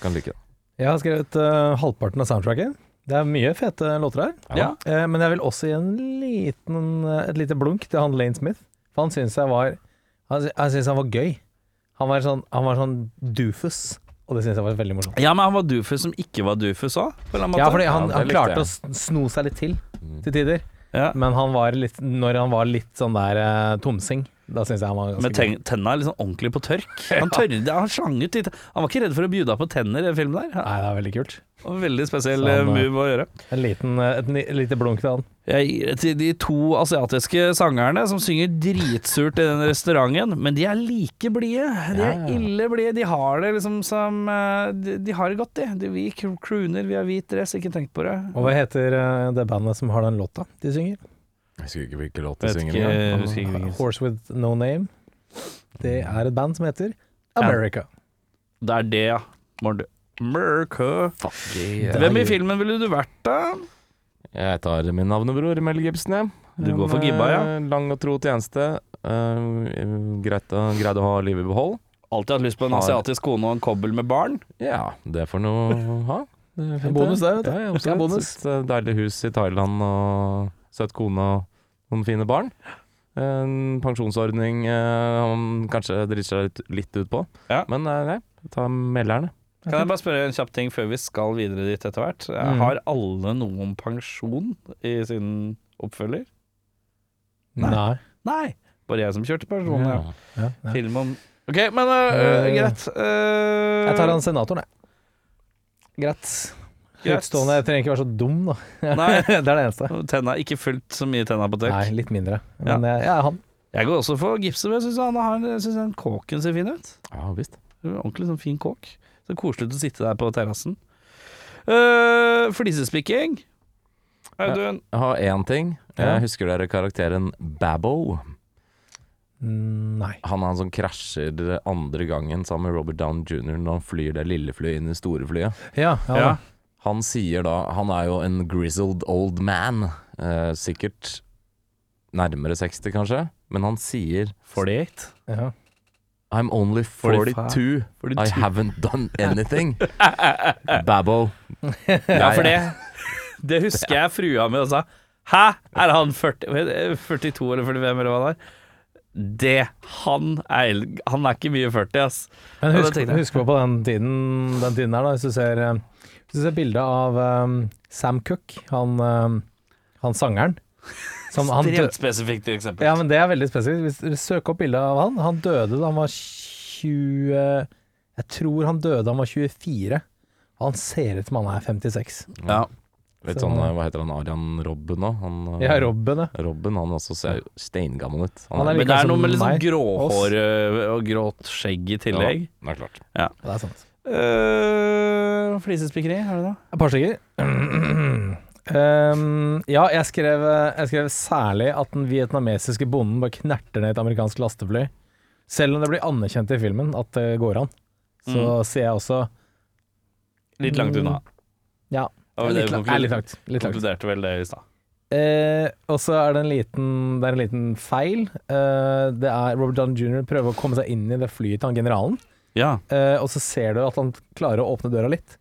Speaker 3: Kan like det.
Speaker 2: Jeg har skrevet eh, halvparten av soundtracket. Det er mye fete låter her.
Speaker 5: Ja.
Speaker 2: Eh, men jeg vil også gi en liten, et lite blunk til han Lane Smith. For han syns jeg var Han, sy- han synes han var gøy. Han var sånn, han var sånn doofus, og det syns jeg var veldig morsomt.
Speaker 5: Ja, men han var dufus som ikke var dufus òg, på en eller annen måte.
Speaker 2: Ja, fordi han,
Speaker 3: Ja, det
Speaker 2: han
Speaker 3: likte
Speaker 2: klarte
Speaker 3: jeg.
Speaker 2: å sn- sno seg litt til til tider.
Speaker 5: Ja.
Speaker 2: Men han var litt, når han var litt sånn der eh, tomsing, da syns jeg han var
Speaker 5: Med
Speaker 2: ganske
Speaker 5: ten- tenna liksom ordentlig på tørk. Han tørde, han slang ut litt. Han var ikke redd for å bjuda på tenner i den filmen der.
Speaker 2: Nei, det er veldig kult.
Speaker 5: Det var en veldig spesiell
Speaker 2: Så han,
Speaker 5: eh, move å gjøre.
Speaker 2: En liten, eh, et ni- lite blunk til han.
Speaker 5: Jeg gir det til de to asiatiske sangerne som synger dritsurt i den restauranten, men de er like blide. De er
Speaker 3: Ja.
Speaker 5: ille blide. De har det liksom som eh, De, de har det godt, de. de. Vi cr- crooner, vi har hvit dress, ikke tenk på det.
Speaker 2: Og hva heter eh, det bandet som har den låta de synger?
Speaker 3: Jeg husker ikke hvilken låt de
Speaker 5: Vet
Speaker 3: synger.
Speaker 5: ikke,
Speaker 3: engang.
Speaker 5: husker ikke hvilken.
Speaker 2: Horse With No Name. Det er et band som heter America.
Speaker 5: Det er det, ja. Morn, du. Merke.
Speaker 3: Fuck yeah.
Speaker 5: Hvem i filmen ville du vært, da?
Speaker 3: Jeg tar min navnebror, Mel Gibson. Jeg.
Speaker 5: Du går for Gibba, ja.
Speaker 3: En, eh, Lang og tro tjeneste. Eh, greit å, greid å ha livet i behold.
Speaker 5: Alltid hatt lyst på en
Speaker 3: Har-
Speaker 5: asiatisk kone og en kobbel med barn.
Speaker 3: Ja, det får noe å ha. Det er fint,
Speaker 2: bonus, det, vet du.
Speaker 3: Ja,
Speaker 2: Det er
Speaker 3: ja, absolutt.
Speaker 2: bonus.
Speaker 3: Et eh, deilig hus i Thailand og søt kone og noen fine barn. En pensjonsordning eh, han kanskje driter seg litt, litt ut på.
Speaker 5: Ja.
Speaker 3: Men eh, nei, ta melderne.
Speaker 5: Kan jeg bare spørre en kjapp ting før vi skal videre dit etter hvert? Eh,
Speaker 2: Mm.
Speaker 5: Har alle noe om pensjon i sin oppfølger?
Speaker 2: Nei.
Speaker 5: Nei. Bare jeg som kjørte pensjon, ja.
Speaker 2: Ja, ja.
Speaker 5: Film om OK, men øh,
Speaker 2: Øh,
Speaker 5: greit. Øh,
Speaker 2: Jeg tar han senatoren, jeg. Greit.
Speaker 5: greit.
Speaker 2: Høytstående. Jeg trenger ikke være så dum, da.
Speaker 5: Nei.
Speaker 2: det er det eneste.
Speaker 5: Tenna, ikke fullt så mye tenna på
Speaker 2: Nei,
Speaker 5: tørk.
Speaker 2: litt mindre. Men jeg, jeg er han.
Speaker 5: Jeg går også for Gibson. men Jeg syns han har jeg synes den kåken ser fin ut.
Speaker 3: Ja visst.
Speaker 5: Ordentlig sånn fin kåk. Så koselig å sitte der på terrassen. Øh, flisespikking. Audun.
Speaker 3: Jeg har én ting.
Speaker 2: Ja.
Speaker 3: Jeg husker dere karakteren Babbo?
Speaker 2: Mm, Nei.
Speaker 3: Han er han som krasjer andre gangen sammen med Robert Down jr. når han flyr det lille flyet inn i store flyet.
Speaker 2: Ja, ja,
Speaker 5: Ja.
Speaker 3: Han sier da Han er jo en grizzled old man. Eh, sikkert nærmere 60, kanskje. Men han sier
Speaker 5: 48.
Speaker 2: da. ja.
Speaker 3: I'm only 42.
Speaker 5: 45.
Speaker 3: I haven't done anything. Babbo.
Speaker 5: Ja, for det Det husker jeg frua mi og sa Hæ? Er han 40, 42 eller 45 eller hva det er? Det Han er, han er ikke mye 40, ass.
Speaker 2: Men
Speaker 5: Ja, det
Speaker 2: husk,
Speaker 5: tenkte jeg.
Speaker 2: husk på på den tiden, den tiden her, da. Hvis du ser, eh, hvis du ser bildet av eh, Sam Cook, han, eh, han sangeren Som han dø-
Speaker 5: Ekstremt spesifikt eksempel.
Speaker 2: ja, men det er veldig spesifikt. Hvis dere søker opp bildet av han Han døde da han var 20 Jeg tror han døde da han var 24. Han ser ut som han er 56.
Speaker 3: Ja. Litt
Speaker 2: Så-
Speaker 3: sånn, eh, hva heter han, Arian Robben nå? Han, eh,
Speaker 2: Ja, Robben, ja.
Speaker 3: Robben, han også ser jo steingammel ut.
Speaker 2: Han er
Speaker 5: Men det
Speaker 2: like
Speaker 5: er noe
Speaker 2: som
Speaker 5: med litt sånn
Speaker 2: meg,
Speaker 5: gråhår ø, og grått skjegg i tillegg.
Speaker 3: Ja, det er klart.
Speaker 2: Det er sant.
Speaker 5: Uh, flisespikkeri, har du det?
Speaker 2: Et par stykker. Um, ja, jeg skrev, jeg skrev særlig at den vietnamesiske bonden bare knerter ned et amerikansk lastefly. Selv om det blir anerkjent i filmen at det går an, så sier jeg også
Speaker 5: Litt langt unna.
Speaker 2: Ja,
Speaker 5: Det var
Speaker 2: litt,
Speaker 5: det vi
Speaker 2: lang-
Speaker 5: konkluderte-
Speaker 2: er litt langt. Litt langt.
Speaker 5: Konkluderte vel det i stad.
Speaker 2: Eh, og så er det en liten, det er en liten feil. Eh, det er Robert Downey jr. prøver å komme seg inn i det flyet til han generalen.
Speaker 5: Ja.
Speaker 2: Eh, og så ser du at han klarer å åpne døra litt.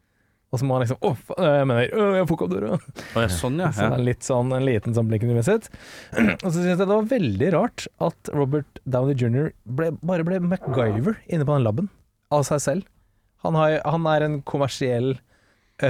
Speaker 2: Og så må han liksom Å, faen, jeg mener, øh, jeg får ikke opp døra.
Speaker 5: Å, ja, sånn, ja.
Speaker 2: Så det
Speaker 5: ja.
Speaker 2: er litt sånn, en liten sånn blikk under sitt. Og så syns jeg det var veldig rart at Robert Downey jr. Ble, bare ble MacGyver inne på den laben av seg selv. Han, har, han er en kommersiell eh,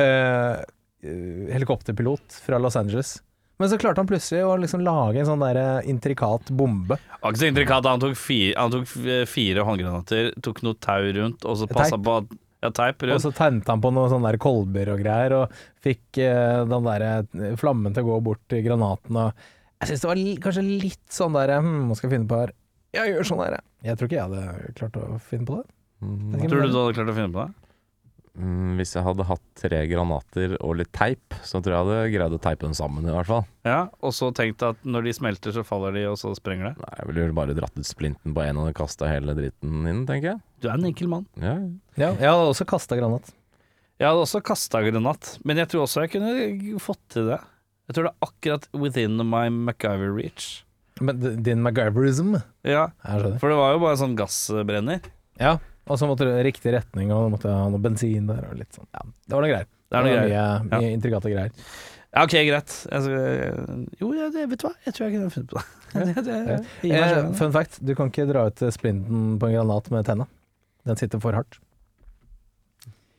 Speaker 2: eh, helikopterpilot fra Los Angeles. Men så klarte han plutselig å liksom lage en sånn der eh, intrikat bombe.
Speaker 5: Var ikke så intrikat. Han tok fire, han tok f- fire håndgranater, tok noe tau rundt, og så passa
Speaker 2: Teip.
Speaker 5: på at Ja, teip
Speaker 2: Og
Speaker 5: rundt.
Speaker 2: så tente han på noen sånne der kolber og greier, og fikk eh, den der eh, flammen til å gå bort til granaten. Og jeg syns det var li kanskje litt sånn der hm, Hva skal jeg finne på her? Jeg gjør sånn her, jeg. Jeg tror ikke jeg hadde klart å finne på det.
Speaker 3: Mm,
Speaker 2: Vet ikke om
Speaker 5: Tror du
Speaker 2: det-
Speaker 5: du hadde klart å finne på det?
Speaker 3: mm, hvis jeg hadde hatt tre granater og litt teip, så tror jeg jeg hadde greid å teipe den sammen, i hvert fall.
Speaker 5: Ja, og så tenkt at når de smelter, så faller de, og så sprenger det.
Speaker 3: Nei, jeg ville vel bare dratt ut splinten på én og kasta hele dritten inn, tenker jeg.
Speaker 5: Du er en enkel mann.
Speaker 3: Ja, ja.
Speaker 2: Ja, jeg hadde også kasta granat.
Speaker 5: Jeg hadde også kasta granat, men jeg tror også jeg kunne fått til det. Jeg tror det er akkurat within my MacGyver reach.
Speaker 2: Men d- din MacGyverism
Speaker 5: Ja,
Speaker 2: Jeg skjønner.
Speaker 5: for det var jo bare en sånn gassbrenner.
Speaker 2: Ja. Og så måtte du i riktig retning, og måtte ha noe bensin der og litt sånn. Ja, det var noe greier.
Speaker 5: Det er noe greier.
Speaker 2: Mye, mye intrikate greier.
Speaker 5: Ja, ok, greit. Jeg skal, jo, jeg, det- vet du hva, jeg tror jeg kunne funnet på det. det, det, gir meg
Speaker 2: Eh,
Speaker 5: selv.
Speaker 2: fun fact, du kan ikke dra ut splinten på en granat med tenna. Den sitter for hardt.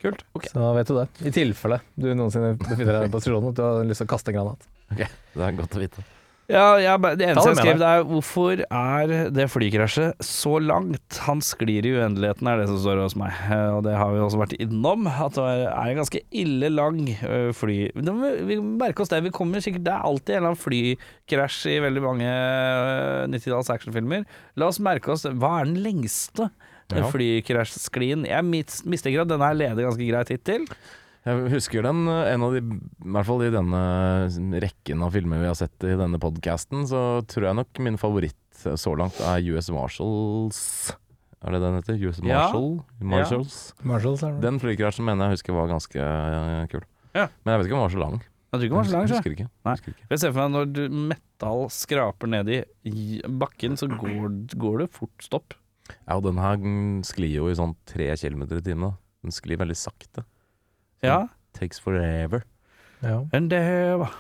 Speaker 5: Kult. Ok.
Speaker 2: Så vet du det. I tilfelle du noensinne befinner deg i den posisjonen at du har lyst til å kaste en granat.
Speaker 3: Det er godt å vite.
Speaker 5: Ja, jeg, bare- det
Speaker 2: Ta
Speaker 5: eneste
Speaker 2: det
Speaker 5: jeg
Speaker 2: med
Speaker 5: skrev, det er hvorfor er det flykrasjet så langt? Han sklir i uendeligheten, er det som står hos meg. Eh, Og det har vi også vært innom, at det er en ganske ille lang eh, fly... Det må Vi vi merker oss det, vi kommer sikkert Det er alltid en eller annen flykrasj i veldig mange eh, 90-talls actionfilmer. La oss merke oss det. Hva er den lengste? eh,
Speaker 3: Ja.
Speaker 5: Flykrasjsklien. Jeg mis- mistenker at denne her leder ganske greit hittil.
Speaker 3: Jeg husker den, eh, en av de, i hvert fall i denne mm, rekken av filmer vi har sett i denne podcasten, så tror jeg nok min favoritt eh, så langt er US Marshals. Er det den heter? US
Speaker 5: Ja.
Speaker 3: Marshall? Marshals?
Speaker 2: Marshalls er det.
Speaker 3: Den flykrasjen mener jeg husker var ganske eh, kul.
Speaker 5: Ja.
Speaker 3: Men jeg vet ikke om den var så lang.
Speaker 5: Jeg tror ikke den var så lang.
Speaker 3: jeg
Speaker 5: så.
Speaker 3: husker ikke.
Speaker 5: Nei.
Speaker 3: Husker ikke.
Speaker 5: For Jeg ser for meg når du metall skraper ned i i bakken, så går, går det fort stopp.
Speaker 3: Ja, og den her den sklir jo i sånn tre kilometer i timen. da. Den sklir veldig sakte.
Speaker 5: Ja.
Speaker 3: Takes forever.
Speaker 2: Ja.
Speaker 5: Enn det hva?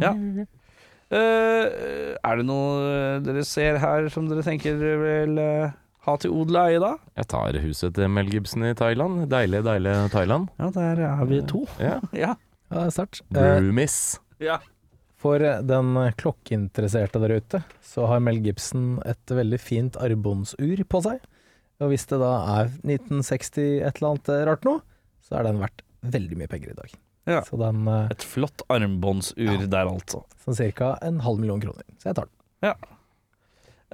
Speaker 5: Ja. Eh, er det noe dere ser her som dere tenker dere vil eh, ha til odel og eie, da?
Speaker 3: Jeg tar huset til Mel Gibson i Thailand. Deilig, deilig Thailand.
Speaker 5: Ja, der er vi to.
Speaker 3: Ja.
Speaker 5: Ja.
Speaker 2: ja, det er sterkt. Eh,
Speaker 3: Broomies.
Speaker 5: ja.
Speaker 2: for eh, den klokkeinteresserte der ute, så har Mel Gibson et veldig fint armbåndsur på seg. Og hvis det da er 1960 et eller annet eh, rart noe, så er den verdt veldig mye penger i dag.
Speaker 5: Ja.
Speaker 2: Så den eh,
Speaker 5: Et flott armbåndsur der, altså.
Speaker 2: sånn ca. en halv million kroner. Så jeg tar den.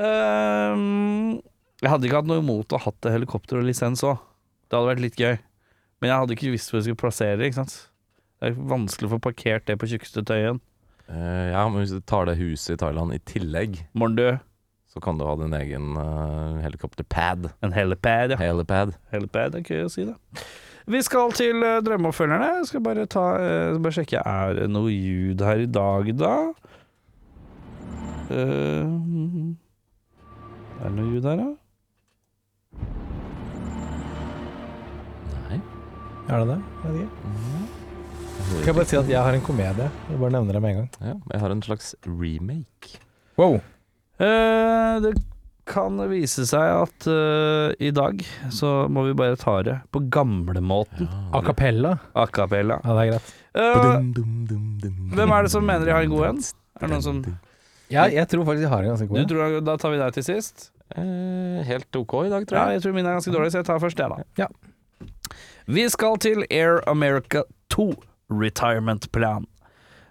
Speaker 5: Ehm, jeg hadde ikke hatt noe imot å ha hatt helikopter og lisens òg. Det hadde vært litt gøy. Men jeg hadde ikke visst hvor jeg skulle plassere det. ikke sant? Det er vanskelig å få parkert det på tjukkeste tøyen.
Speaker 3: Eh, ja, men hvis du tar det huset i Thailand i tillegg,
Speaker 5: Morndu,
Speaker 3: så kan du ha din egen eh, helikopterpad.
Speaker 5: en helipad, ja.
Speaker 3: Helipad.
Speaker 5: Helipad er gøy å si, det. Vi skal til eh, drømmeoppfølgerne. Jeg skal bare, ta, eh, bare sjekke er det noe ljud her i dag, da. Eh, mm. er det noe ljud her, da?
Speaker 3: Nei.
Speaker 2: Er det det? Jeg vet ikke.
Speaker 3: Mhm.
Speaker 2: Skal jeg bare si at jeg har en komedie. Jeg bare nevner det med en gang.
Speaker 3: Ja, jeg har en slags remake.
Speaker 2: Wow.
Speaker 5: Eh, det kan vise seg at eh, i dag så må vi bare ta det på gamlemåten.
Speaker 2: A cappella.
Speaker 5: A cappella.
Speaker 2: Ja, det er greit.
Speaker 5: Eh,
Speaker 3: Dum, dum, dum, dum,
Speaker 5: hvem er det som mener de har en god en? Er det noen som
Speaker 2: Ja, jeg tror faktisk jeg har en ganske
Speaker 5: Du
Speaker 2: god en.
Speaker 5: tror, da tar vi deg til sist.
Speaker 3: Eh, helt ok i dag,
Speaker 5: Ja,
Speaker 3: tror jeg.
Speaker 5: jeg tror min er ganske dårlig, så jeg tar først det, da.
Speaker 2: Ja.
Speaker 5: Vi skal til Air America 2 retirement plan.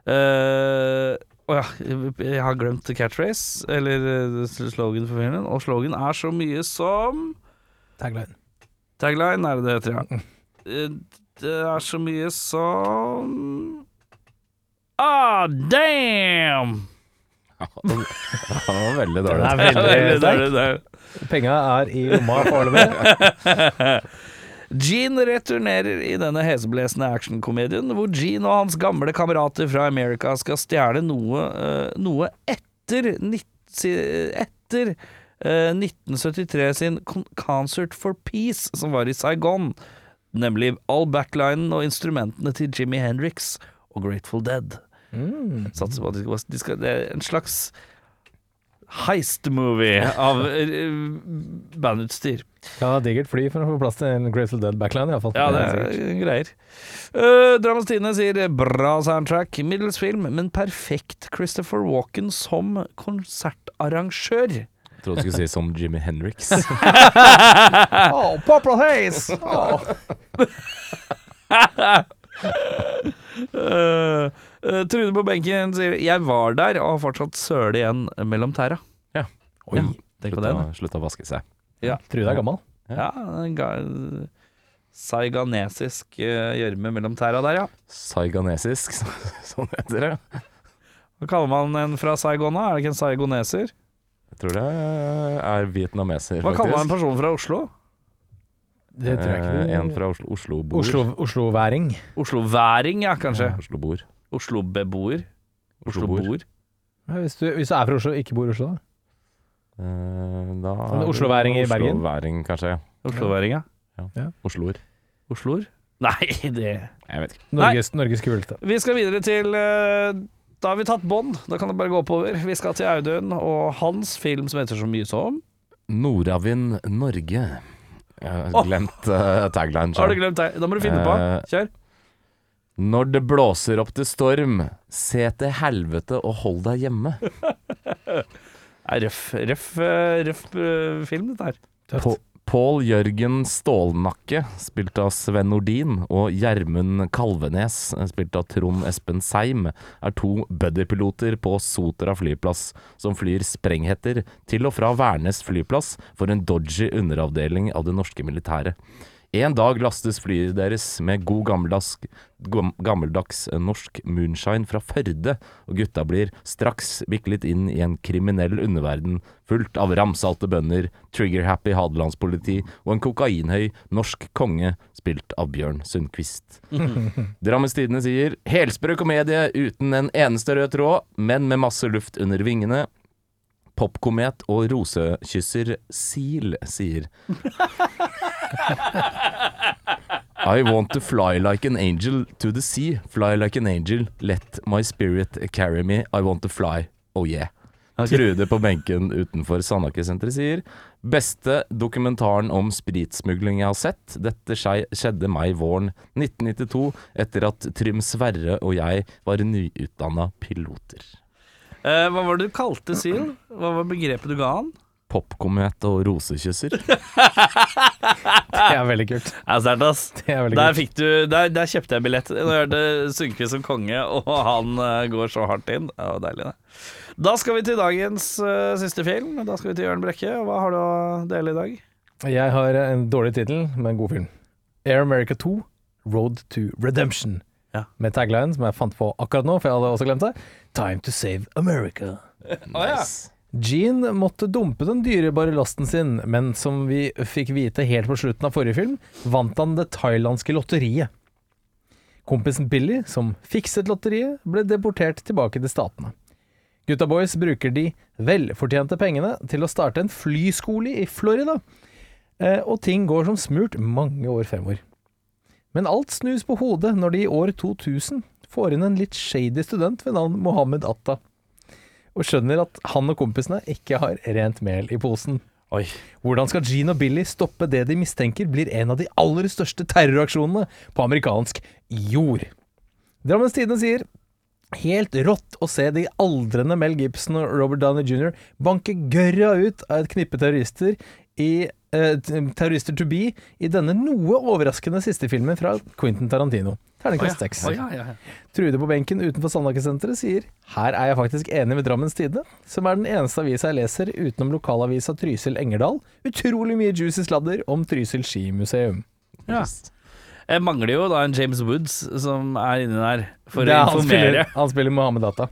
Speaker 5: Eh, Å ja, jeg har glemt catchphrase, eller eh, slogan for filmen. Og slogan er så mye som
Speaker 2: Tagline.
Speaker 5: Tagline er det det heter, ja. Eh, Det er så mye som Ah, damn!
Speaker 3: Han var veldig dårlig.
Speaker 2: Den er veldig
Speaker 5: Det er
Speaker 2: sterk.
Speaker 5: det, det er det.
Speaker 2: Penga er i lomma foreløpig.
Speaker 5: Gene returnerer i denne heseblesende actionkomedien, hvor Gene og hans gamle kamerater fra America skal stjele noe, eh, noe etter, nitt- si- etter eh, 1973 sin Con- Concert for Peace, som var i Saigon. Nemlig all backlinen og instrumentene til Jimmy Hendrix og Grateful Dead.
Speaker 2: Mm.
Speaker 5: Satser på at de skal, de skal, det er en slags heist-movie av eh, bandutstyr.
Speaker 2: Ja, digert fly for å få plass til en Grateful Dead backline, iallfall.
Speaker 5: Ja, det er greier. Uh, Drammens Tidende sier 'bra soundtrack, middels film, men perfekt Christopher Walken som konsertarrangør'.
Speaker 3: Jeg trodde du skulle si som Jimmy Henriks.
Speaker 2: Oh, Purple Haze!
Speaker 5: Eh, Uh, uh, Trude på benken sier 'jeg var der og har fortsatt søle igjen mellom tæra'.
Speaker 3: Ja.
Speaker 5: Oi, tenk på den.
Speaker 3: Slutta, slutta å vaske seg.
Speaker 2: Trude er gammel.
Speaker 5: Ja, en ga- Saiganesisk uh, gjørme mellom tæra der, ja.
Speaker 3: Saiganesisk, som- som det heter. ja.
Speaker 5: Hva kaller man en fra Saigon, da? Er det ikke en saigoneser?
Speaker 3: Jeg tror det er vietnameser,
Speaker 5: Hva kaller man en person fra Oslo?
Speaker 2: Det tror jeg ikke.
Speaker 3: Eh, en fra Oslo, Oslo bor.
Speaker 2: Oslo- Oslo-væring.
Speaker 5: Osloværing, ja, kanskje.
Speaker 3: Oslo bor.
Speaker 5: Oslo-beboer.
Speaker 3: Oslo bor.
Speaker 5: Oslo-boer.
Speaker 2: Ja, hvis, du- hvis du er fra Oslo, ikke bor i Oslo, da.
Speaker 3: Eh, da
Speaker 2: Sånn Osloværing i Bergen?
Speaker 3: Osloværing, kanskje. ja.
Speaker 5: Osloværing, ja.
Speaker 3: Osloer.
Speaker 5: Osloer? Nei, det
Speaker 3: Jeg vet ikke.
Speaker 2: Norges, Norges kuleste.
Speaker 5: Vi skal videre til eh, Da har vi tatt bånd. Da kan det bare gå oppover. Vi skal til Audun og hans film som heter så mye som
Speaker 3: Nordavind Norge. Jeg har
Speaker 5: Åh!
Speaker 3: glemt eh, tagline.
Speaker 5: Har du
Speaker 3: selv.
Speaker 5: glemt deg? Da må du finne på.
Speaker 3: Eh,
Speaker 5: Kjør.
Speaker 3: Når det blåser opp til storm, se til helvete og hold deg hjemme.
Speaker 5: Det er røff, røff, eh, røff eh, film, dette her.
Speaker 3: Pa- Pål Jørgen Stålnakke, spilt av Sven Nordin, og Gjermund Kalvenes, spilt av Trond Espen Seim, er to buddypiloter på Sotra flyplass, som flyr sprenghetter til og fra Værnes flyplass for en dodgy underavdeling av det norske militæret. En dag lastes flyet deres med god gammeldags, gam- gammeldags eh, norsk moonshine fra Førde, og gutta blir straks viklet inn i en kriminell underverden fullt av ramsalte bønder, trigger-happy hadelandspoliti og en kokainhøy norsk konge spilt av Bjørn Sundquist. Drammens Tidende sier helsprø komedie uten en eneste rød tråd, men med masse luft under vingene. Popkomet og rosekysser Sil sier I want to fly like an angel to the sea. Fly like an angel. Let my spirit carry me. I want to fly. Oh yeah. Trude på benken utenfor Sandaker-senteret sier Beste dokumentaren om spritsmugling jeg har sett. Dette skje- skjedde meg våren 1992 etter at Trym Sverre og jeg var nyutdanna piloter.
Speaker 5: Eh, hva var det du kalte Seal? Hva var begrepet du ga han?
Speaker 3: Popkomet og rosekysser.
Speaker 2: Det er veldig kult.
Speaker 5: Ja, Sterkt, ass.
Speaker 2: Det er veldig
Speaker 5: Der,
Speaker 2: kult.
Speaker 5: fikk du, der, der kjøpte jeg billett. Nå er det Sundquist som konge, og han eh, går så hardt inn. Det var deilig, det. Da skal vi til dagens eh, siste film. Da skal vi til Jørn Brekke. Hva har du å dele i dag?
Speaker 2: Jeg har en dårlig tittel, men god film. Air America 2, Road to Redemption.
Speaker 5: Ja.
Speaker 2: Med tagline som jeg fant på akkurat nå, for jeg hadde også glemt det. Time to save America.
Speaker 3: Nice.
Speaker 2: Gene måtte dumpe den dyrebare lasten sin, men som vi fikk vite helt på slutten av forrige film, vant han det thailandske lotteriet. Kompisen Billy, som fikset lotteriet, ble deportert tilbake til Statene. Gutta boys bruker de velfortjente pengene til å starte en flyskole i Florida, eh, og ting går som smurt mange år fremover. Men alt snus på hodet når de i år 2000 får inn en litt shady student ved navn Mohammed Atta og skjønner at han og kompisene ikke har rent mel i posen.
Speaker 5: Oi.
Speaker 2: Hvordan skal Gene og Billy stoppe det de mistenker blir en av de aller største terroraksjonene på amerikansk jord? Drammens Tidende sier helt rått å se de aldrende Mel Gibson og Robert Downey jr. banke gørra ut av et knippe terrorister i eh, t- Terrorister to be i denne noe overraskende siste filmen fra Quentin Tarantino. Terningkast seks.
Speaker 5: Å, ja, ja, ja.
Speaker 2: Trude på benken utenfor Sandhagesenteret sier Her er jeg faktisk enig med Drammens Tidende, som er den eneste avisa jeg leser utenom lokalavisa Trysil Engerdal. Utrolig mye juicy sladder om Trysil skimuseum.
Speaker 5: Ja. Jeg mangler jo da en James Woods som er inni der for
Speaker 2: Det
Speaker 5: å
Speaker 2: er- han, spiller,
Speaker 5: informere.
Speaker 2: han spiller Mohammed Atta.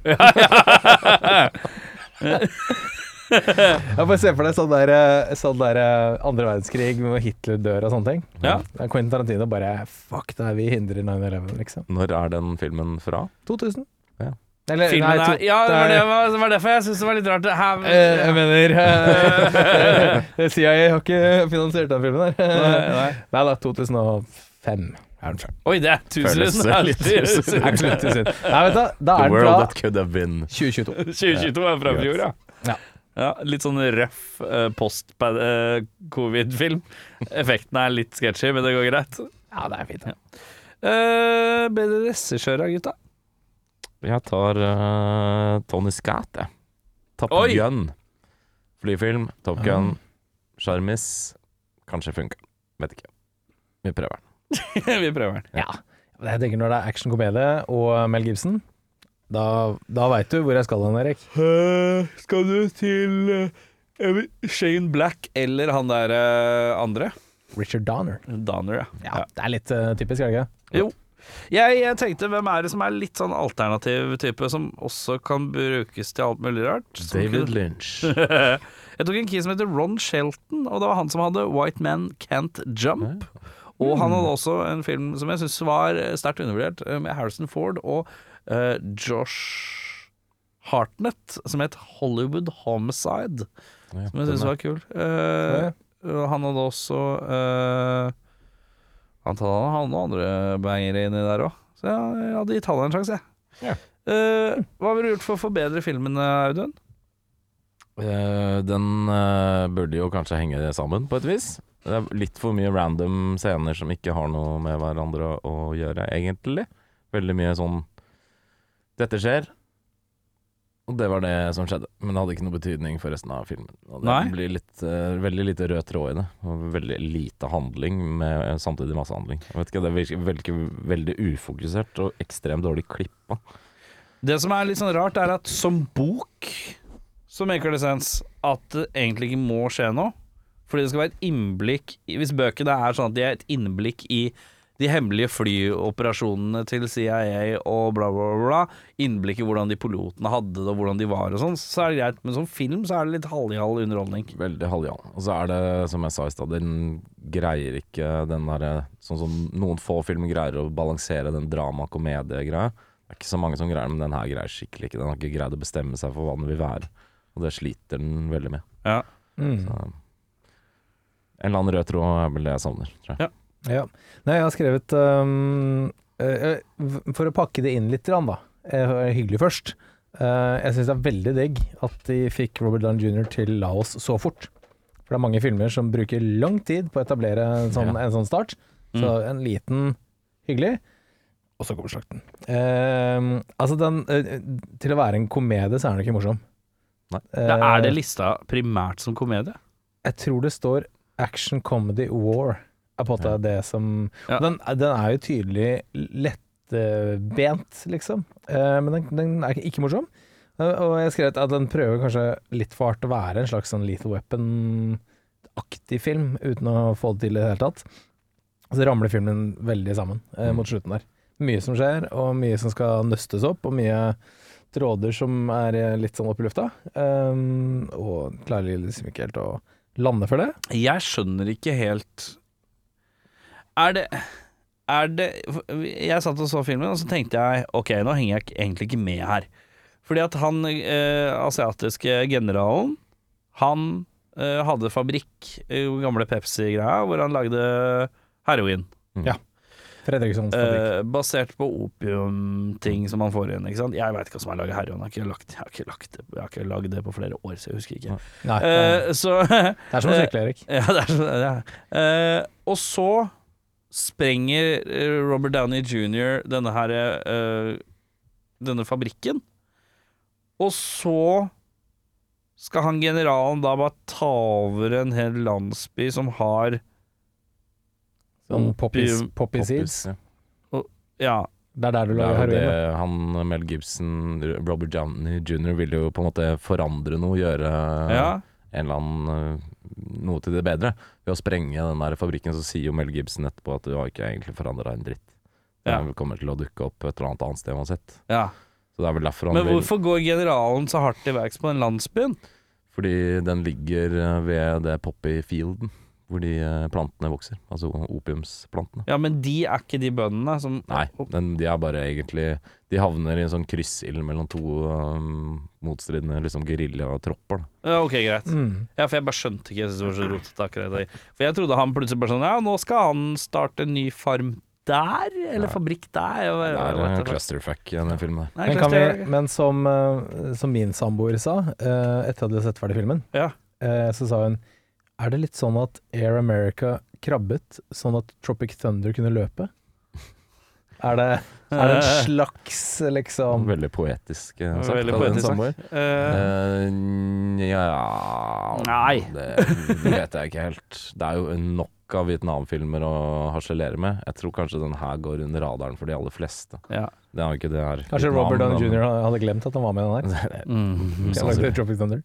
Speaker 2: Jeg bare ser for deg sånn der, eh, sånn der eh, andre verdenskrig hvor Hitler dør og sånne ting.
Speaker 5: Ja.
Speaker 2: Da er Quentin Tarantino bare Fuck det, her, vi hindrer 9-11, liksom.
Speaker 3: Når er den filmen fra?
Speaker 2: 2000.
Speaker 3: Ja.
Speaker 2: Eller,
Speaker 5: Filmen
Speaker 2: nei,
Speaker 5: er,
Speaker 2: to-
Speaker 5: ja, det var,
Speaker 2: det
Speaker 5: det,
Speaker 2: er-
Speaker 5: var- det var derfor jeg syntes det var litt rart.
Speaker 2: Eh, Jeg mener eh, CIA har ikke finansiert den filmen der.
Speaker 5: Her,
Speaker 2: Nei da, 2005 er den fra.
Speaker 5: Oi, det er
Speaker 3: Føles
Speaker 5: tusen
Speaker 3: det litt
Speaker 2: Det er ikke slutt i sitt. Nei, vet du, da er
Speaker 3: The
Speaker 2: den
Speaker 3: World
Speaker 2: fra
Speaker 3: That Could Have Been.
Speaker 2: 2022.
Speaker 5: 2022 er fra i fjor, ja.
Speaker 2: Ja.
Speaker 5: Ja, litt sånn røff eh, post-covid-film. Effektene er litt sketchy, men det går greit.
Speaker 2: Ja, det er fint. da.
Speaker 5: Uh, bedre regissører, gutta.
Speaker 3: Jeg tar eh, Tony Scott, jeg. Top
Speaker 5: Oi!
Speaker 3: Gun. Flyfilm, Top Gun, Sjarmis. Kanskje funka. Vet ikke. Vi prøver den.
Speaker 5: Vi prøver den.
Speaker 2: Ja. Men Jeg tenker når det er actionkomedie og Mel Gibson, da, da veit du hvor jeg skal hen, Erik.
Speaker 5: skal du til eh, Shane Black eller han der eh, andre?
Speaker 2: Richard Donner.
Speaker 5: Donner, ja.
Speaker 2: Ja, Det er litt eh, typisk, er det ikke?
Speaker 5: Jeg, jeg tenkte hvem er det som er litt sånn alternativ type, som også kan brukes til alt mulig rart? Som kunne-
Speaker 3: Lynch.
Speaker 5: jeg tok en key som heter Ron Shelton, og det var han som hadde White Man Can't Jump. Og han hadde også en film som jeg syns var sterkt undervurdert, eh, med Harrison Ford og eh, Josh Hartnett, som het Hollywood Homicide, som jeg syns var kul. Eh, og han hadde også eh, Han hadde han hadde noen andre banger inni der òg, så jeg, jeg hadde gitt han en sjanse, jeg. Eh, hva ville du gjort for å forbedre filmen, Audun?
Speaker 3: Eh, den eh, burde jo kanskje henge sammen, på et vis. Det er litt for mye random scener som ikke har noe med hverandre å, å gjøre, egentlig. Veldig mye sånn Dette skjer. Og det var det som skjedde. Men det hadde ikke noe betydning for resten av filmen. Og det
Speaker 5: Nei.
Speaker 3: blir litt, eh, veldig lite rød tråd i det. Og veldig lite handling med samtidig masse handling. Jeg vet ikke, Det virker veldig, veldig ufokusert og ekstremt dårlig klippa.
Speaker 5: Det som er litt sånn rart, er at som bok så maker det sens at det egentlig ikke må skje noe. Fordi det skal være et innblikk i- Hvis bøkene er sånn at de er et innblikk i de hemmelige flyoperasjonene til CIA og bla, bla, bla. Innblikk i hvordan de pilotene hadde det, og hvordan de var og sånn. Så er det greit. Men som film så er det litt halvjall underholdning.
Speaker 3: Veldig halvjan. Og så er det, som jeg sa i stad, den greier ikke den derre Sånn som noen få filmer greier å balansere den drama-komedie-greia. Det er ikke så mange som greier det, men den her greier skikkelig ikke. Den har ikke greid å bestemme seg for hva den vil være, og det sliter den veldig med.
Speaker 5: Ja.
Speaker 2: Mm.
Speaker 3: Så, en eller annen rød tråd er vel det jeg savner, tror jeg.
Speaker 2: Ja. Nei, jeg har skrevet um, eh, eh, For å pakke det inn litt, grann, da. Eh, hyggelig først. Eh, jeg syns det er veldig digg at de fikk Robert Down jr. til Laos så fort. For det er mange filmer som bruker lang tid på å etablere en sånn,
Speaker 3: Ja.
Speaker 2: en sånn start. Så
Speaker 5: Mm.
Speaker 2: en liten hyggelig, og så kommer slakten. Eh, altså den eh, Til å være en komedie, så er den ikke morsom.
Speaker 3: Nei.
Speaker 5: Da er det
Speaker 2: Eh,
Speaker 5: lista primært som komedie.
Speaker 2: jeg tror det står Action Comedy War. Er på en måte det som
Speaker 5: Ja.
Speaker 2: den, den er jo tydelig lettbent, liksom. Eh, men den, den er ikke morsom. Eh, og jeg skrev at den prøver kanskje litt for hardt å være en slags sånn Lethal Weapon-aktig film, uten å få det til i det hele tatt. Og så ramler filmen veldig sammen eh, mot slutten der. Mye som skjer, og mye som skal nøstes opp, og mye tråder som er eh, litt sånn opp i lufta. Um, og klarer liksom ikke helt å lande for det.
Speaker 5: Jeg skjønner ikke helt Er det Er det Jeg satt og så filmen, og så tenkte jeg Ok, nå henger jeg ikke- egentlig ikke med her. Fordi at han eh, asiatiske generalen Han eh, hadde fabrikk, eh, gamle Pepsi-greia, hvor han lagde heroin.
Speaker 2: Fredrikssons fabrikk.
Speaker 5: Eh, basert på opiumting som man får igjen. Ikke sant? Jeg veit ikke hva som er laget heroin. Jeg har ikke lagt- jeg har ikke lagt det- jeg har ikke lagd det på flere år, så jeg husker ikke.
Speaker 2: Nei,
Speaker 5: Eh, så
Speaker 2: det er som å sykle, Erik.
Speaker 5: ja, det er sånn ja. Eh, Og så sprenger eh, Robert Downey jr. denne her eh, denne fabrikken. Og så skal han generalen da bare ta over en hel landsby som har
Speaker 2: Sånn poppy,
Speaker 5: Poppy-
Speaker 2: poppy seeds.
Speaker 3: Ja.
Speaker 5: Ja,
Speaker 2: Det er der du
Speaker 3: Det
Speaker 2: lager
Speaker 3: er jo
Speaker 2: heroin. da.
Speaker 3: det han Mel Gibson, Robert Downey jr., ville jo på en måte forandre noe, gjøre
Speaker 5: ja.
Speaker 3: en eller annen øh, noe til det bedre. Ved å sprenge den der fabrikken, så sier jo Mel Gibson etterpå at du har ikke egentlig forandra en dritt. Det
Speaker 5: Ja.
Speaker 3: kommer til å dukke opp et eller annet annet sted uansett.
Speaker 5: ja.
Speaker 3: Så det er vel derfor han
Speaker 5: Men
Speaker 3: vil
Speaker 5: hvorfor går generalen så hardt til verks på den landsbyen?
Speaker 3: Fordi den ligger øh, ved det poppy fielden hvor de øh, plantene vokser. Altså opiumsplantene.
Speaker 5: Ja, men de er ikke de bøndene som
Speaker 3: Nei, den, de er bare egentlig De havner i en sånn kryssild mellom to øh, motstridende liksom geriljatropper. da.
Speaker 5: Ja, ok, greit.
Speaker 2: Mm.
Speaker 5: Ja, for jeg bare skjønte ikke jeg synes det var så rotete akkurat det. For jeg trodde han plutselig bare sånn Ja, nå skal han starte en ny farm der, eller fabrikk der. Jeg,
Speaker 3: Det
Speaker 5: jeg, jeg,
Speaker 3: er
Speaker 5: vet
Speaker 3: en
Speaker 5: ikke.
Speaker 3: clusterfuck i den filmen der.
Speaker 5: Nei,
Speaker 2: Men, kan
Speaker 5: Cluster-
Speaker 2: vi, men som, eh, som min samboer sa, eh, etter at vi hadde sett ferdig filmen,
Speaker 5: Ja.
Speaker 2: eh, så sa hun Er det litt sånn at Air America krabbet sånn at Tropic Thunder kunne løpe? Er det, er det en slags liksom
Speaker 3: Veldig poetisk eh, sagt
Speaker 5: Sånn. Veldig
Speaker 3: av din
Speaker 5: poetisk sagt.
Speaker 3: samboer.
Speaker 5: Eh,
Speaker 3: Eh, Nja
Speaker 5: Nei.
Speaker 3: Det vet jeg ikke helt. Det er jo nok av Vietnamfilmer å harselere med. Jeg tror kanskje den her går under radaren for de aller fleste.
Speaker 5: ja.
Speaker 3: Det er jo ikke det her.
Speaker 2: Kanskje
Speaker 3: Vietnam,
Speaker 2: Robert Downey
Speaker 3: men-
Speaker 2: jr. hadde glemt at han var med i den her?
Speaker 5: Mm.
Speaker 2: Så lagde Tropic Thunder.